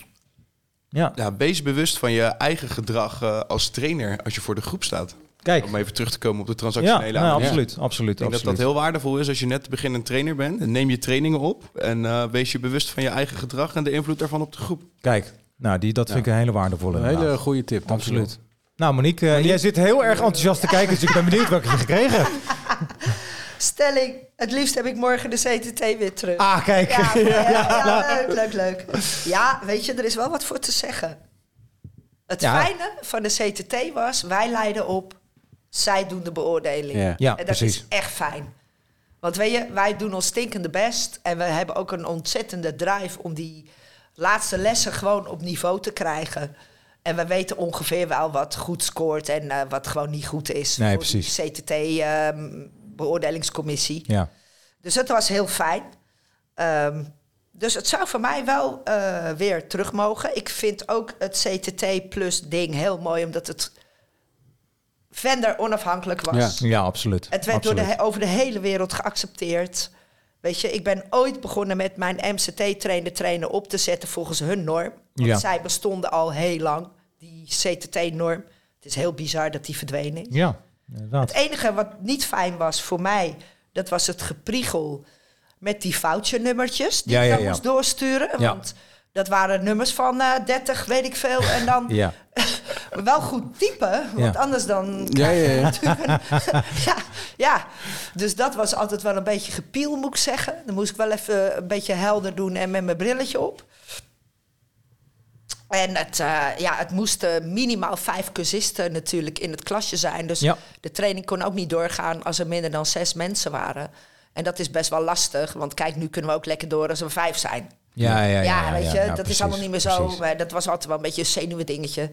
S6: Ja.
S8: Ja, wees bewust van je eigen gedrag eh, als trainer als je voor de groep staat.
S6: Kijk.
S8: Om even terug te komen op de
S6: Ja,
S8: transactionele
S6: nou,
S8: aanpak.
S6: absoluut. Absoluut.
S8: Ik denk dat
S6: absoluut.
S8: dat heel waardevol is als je net beginnend trainer bent. Neem je trainingen op en eh, wees je bewust van je eigen gedrag en de invloed daarvan op de groep.
S6: Kijk, nou, die, dat vind ik een hele waardevolle.
S5: een
S6: inderdaad.
S5: hele goede tip.
S6: Absoluut. Nou, Monique, eh, jij zit heel erg enthousiast te kijken, dus ik ben benieuwd welke je gekregen hebt.
S7: Stelling, het liefst heb ik morgen de CTT weer terug.
S6: Ah, kijk.
S7: Ja, ja, ja,
S6: nou.
S7: leuk, leuk, leuk. Ja, weet je, er is wel wat voor te zeggen. Het
S6: Ja.
S7: fijne van de CTT was, wij leiden op, zij doen de beoordeling.
S5: Ja.
S6: Ja,
S7: en dat
S6: precies.
S7: is echt fijn. Want weet je, wij doen ons stinkende best en we hebben ook een ontzettende drive om die laatste lessen gewoon op niveau te krijgen. En we weten ongeveer wel wat goed scoort en eh, wat gewoon niet goed is.
S6: Nee,
S7: voor die
S6: precies.
S7: CTT ehm, beoordelingscommissie.
S6: (laughs) Ja.
S7: Dus dat was heel fijn. Ehm, dus het zou voor mij wel eh, weer terug mogen. Ik vind ook het CTT plus ding heel mooi, omdat het vendor onafhankelijk was.
S6: ja, absoluut.
S7: Het werd door de,
S6: absoluut.
S7: he- over de hele wereld geaccepteerd. Weet je, ik ben ooit begonnen met mijn MCT-trainer trainen op te zetten volgens hun norm. Want
S6: Ja.
S7: zij bestonden al heel lang, die CTT-norm. Het is heel bizar dat die verdwenen is.
S6: Ja, inderdaad.
S7: Het enige wat niet fijn was voor mij, dat was het gepriegel met die foutje-nummertjes die
S6: Ja,
S7: ik
S6: ja,
S7: dan
S6: ja.
S7: moest doorsturen.
S6: Ja.
S7: Want dat waren nummers van eh 30, weet ik veel. En dan
S6: Ja.
S7: Maar (laughs) wel goed typen, want
S6: Ja.
S7: anders dan...
S5: Ja, ja, ja.
S7: (laughs) Ja, ja, dus dat was altijd wel een beetje gepiel, moet ik zeggen. Dan moest ik wel even een beetje helder doen en met mijn brilletje op. En het, eh, ja, het moesten minimaal vijf cursisten natuurlijk in het klasje zijn. Dus
S6: Ja.
S7: de training kon ook niet doorgaan als er minder dan zes mensen waren. En dat is best wel lastig, want kijk, nu kunnen we ook lekker door als er vijf zijn.
S6: Ja, ja, ja.
S7: Ja, weet je,
S6: ja,
S7: dat
S6: precies,
S7: is allemaal niet meer zo.
S6: precies.
S7: Maar dat was altijd wel een beetje een zenuwen dingetje.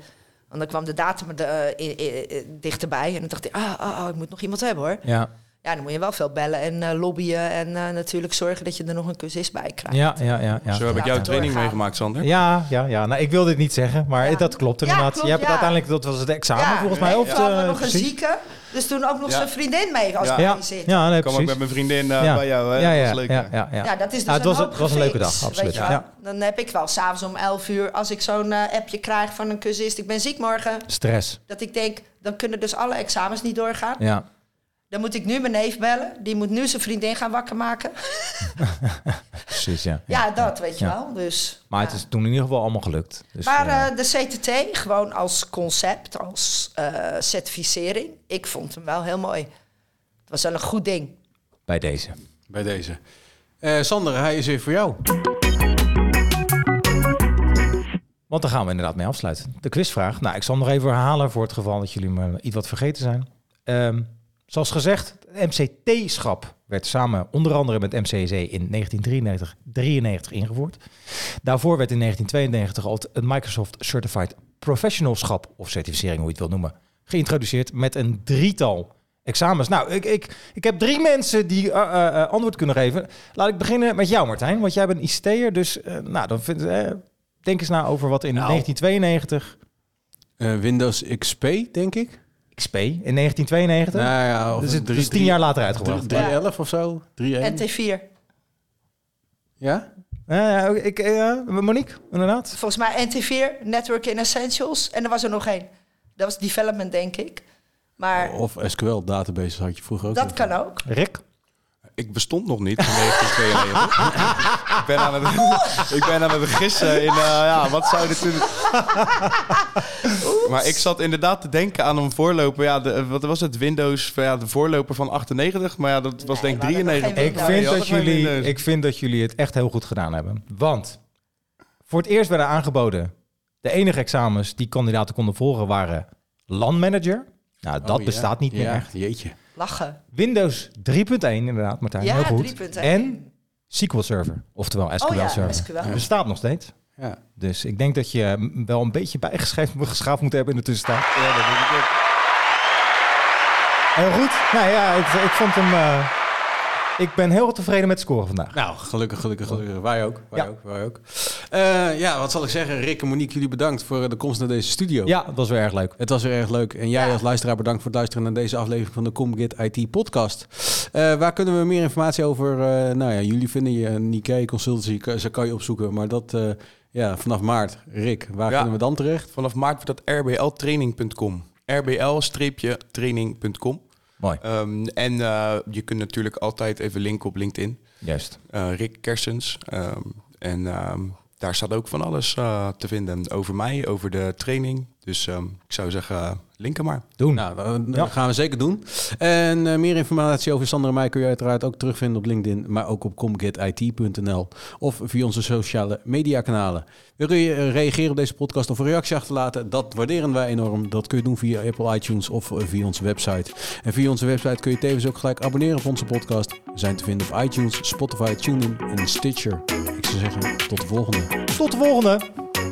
S7: Want dan kwam de datum er, eh, i- i- i- dichterbij. En dan dacht ik, ah, ah, ah, ik moet nog iemand hebben hoor.
S6: Ja,
S7: Ja, dan moet je wel veel bellen en eh, lobbyen. En eh, natuurlijk zorgen dat je er nog een cursist bij krijgt.
S6: ja, ja, ja. ja.
S8: Zo heb ik jouw
S7: Laten
S8: training
S7: doorgaan.
S8: meegemaakt, Sander.
S6: Ja, ja, ja. Nou, ik wil dit niet zeggen, maar
S7: Ja.
S6: dat klopt
S7: Ja,
S6: inderdaad.
S7: klopt,
S6: je hebt het
S7: ja.
S6: uiteindelijk, dat was het examen volgens mij.
S7: nee,
S6: Of
S7: toen hadden we
S6: eh,
S7: nog een
S6: precies.
S7: zieke. Dus toen ook nog
S8: Ja.
S7: zijn vriendin mee als
S8: Ja.
S7: ja.
S6: Ja,
S7: zit. Ja.
S6: ja nee,
S8: Ik kwam ook
S6: precies.
S8: met mijn vriendin eh, bij jou. Hè?
S6: ja,
S8: Dat
S6: ja,
S8: was leuk.
S6: ja,
S8: hè?
S6: ja, ja.
S7: dat is dus
S6: Ja, het
S7: een
S6: was een-
S7: hoop
S6: het was een leuke
S7: gefixt,
S6: dag, absoluut.
S7: weet je
S6: Ja.
S7: wel. Dan heb ik wel s'avonds om 11 uur, als ik zo'n eh, appje krijg van een cursist, ik ben ziek morgen,
S6: Stress.
S7: dat ik denk, dan kunnen dus alle examens niet doorgaan.
S6: (laughs) Ja.
S7: Dan moet ik nu mijn neef bellen. Die moet nu zijn vriendin gaan wakker maken.
S6: Precies, ja.
S7: Ja, dat weet je
S6: Ja.
S7: wel. Dus,
S6: Maar
S7: ja.
S6: het is toen in ieder geval allemaal gelukt. Dus,
S7: maar
S6: eh,
S7: eh, de CTT, gewoon als concept, als eh, certificering. Ik vond hem wel heel mooi. Het was wel een goed ding.
S6: bij deze.
S5: Bij deze. Eh, Sander, hij is weer voor jou.
S6: Want daar gaan we inderdaad mee afsluiten. De quizvraag. Nou, ik zal hem nog even herhalen voor het geval dat jullie me iets wat vergeten zijn. Ehm, zoals gezegd, het MCT-schap werd samen onder andere met MCC in 1993 93 ingevoerd. Daarvoor werd in 1992 al het Microsoft Certified Professionalschap, of certificering hoe je het wil noemen, geïntroduceerd met een drietal examens. Nou, ik, ik, ik heb drie mensen die eh, eh, eh, antwoord kunnen geven. Laat ik beginnen met jou, Martijn, want jij bent ICT'er, dus eh, nou, dan vind, eh, denk eens na over wat in
S5: Nou.
S6: 1992
S5: Eh, Windows XP, denk ik.
S6: XP in 1992.
S5: Nou ja, of
S6: dus het
S5: drie-
S6: is tien
S5: drie-
S6: jaar later uitgebracht.
S5: 311 of zo? 311?
S7: NT4.
S5: Ja?
S6: Eh, ik, eh, Monique, inderdaad.
S7: Volgens mij NT4, Network in Essentials. En er was er nog één. Dat was development, denk ik. Maar
S6: Oh,
S5: Of SQL databases had je vroeger ook.
S7: dat
S5: nog.
S7: kan ook.
S6: Rick.
S8: Ik bestond nog niet in (laughs) 1992. ik, ben aan het, (laughs) ik ben aan het gissen in, eh, ja, wat zou dit kunnen... Maar ik zat inderdaad te denken aan een voorloper. Ja, de, wat was het? Windows, ja, de voorloper van 98. Maar ja, dat was
S7: Nee,
S8: denk ik
S7: we hadden nog
S8: 93.
S6: Ik
S7: geen Nou,
S6: vind,
S8: Ja,
S6: dat
S8: geen
S6: jullie,
S8: Windows.
S6: ik vind dat jullie het echt heel goed gedaan hebben. Want voor het eerst werden aangeboden... de enige examens die kandidaten konden volgen waren... LAN-manager. Nou, dat
S5: Oh, ja.
S6: bestaat niet meer
S5: Ja,
S6: echt.
S5: jeetje.
S7: Lachen.
S6: Windows 3.1 inderdaad, Martijn.
S7: Ja,
S6: heel goed.
S7: 3.1.
S6: En SQL Server. Oftewel SQL
S7: Oh ja,
S6: Server.
S7: SQL.
S6: Bestaat nog steeds.
S5: Ja.
S6: Dus ik denk dat je eh, wel een beetje bijgeschreven (laughs) geschaafd moet hebben in de tussentijd.
S8: Ja, dat denk ik ook.
S6: Heel goed. Nou ja, ik, ik vond hem... eh, ik ben heel tevreden met het scoren vandaag.
S5: Nou, gelukkig, gelukkig, gelukkig. Wij ook. Wij
S6: Ja.
S5: ook, wij ook. Eh, ja, wat zal ik zeggen? Rick en Monique, jullie bedankt voor eh, de komst naar deze studio.
S6: Ja, dat was weer erg leuk.
S5: Het was weer erg leuk. En jij als luisteraar bedankt voor het luisteren naar deze aflevering van de ComGit IT podcast. Eh, waar kunnen we meer informatie over? eh, nou ja, jullie vinden je een Nikkei Consultancy, ka- ze kan je opzoeken. Maar dat, eh, ja, vanaf maart. Rick, waar
S8: Ja.
S5: kunnen we dan terecht?
S8: Vanaf maart wordt dat rbltraining.com. rbl-training.com.
S6: Mooi.
S8: Ehm, en eh, je kunt natuurlijk altijd even linken op LinkedIn.
S6: Juist.
S8: eh, Rick Kersens. ehm, en ehm, daar staat ook van alles eh, te vinden over mij, over de training. Dus ehm, ik zou zeggen, eh, linken maar.
S6: Doen.
S5: Nou, dat dat
S6: Ja.
S5: gaan we zeker doen. En eh, meer informatie over Sander en mij kun je uiteraard ook terugvinden op LinkedIn, maar ook op comgitit.nl of via onze sociale mediakanalen. Wil je eh, reageren op deze podcast of een reactie achterlaten? Dat waarderen wij enorm. Dat kun je doen via Apple iTunes of eh, via onze website. En via onze website kun je tevens ook gelijk abonneren op onze podcast. We zijn te vinden op iTunes, Spotify, TuneIn en Stitcher. Ik zou zeggen, tot de volgende.
S6: Tot de volgende.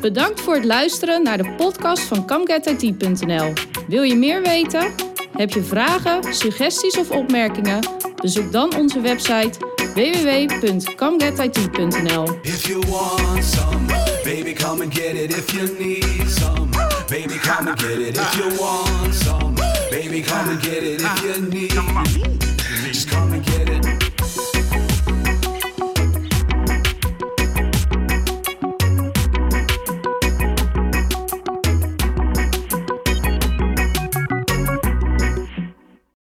S4: Bedankt voor het luisteren naar de podcast van CamGetIT.nl. Wil je meer weten? Heb je vragen, suggesties of opmerkingen? Bezoek dan onze website www.camgetit.nl.
S3: If you want some, baby, come and get it. If you need some, baby, come and get it. If you want some, baby, come and get it. If you need, just come and get it.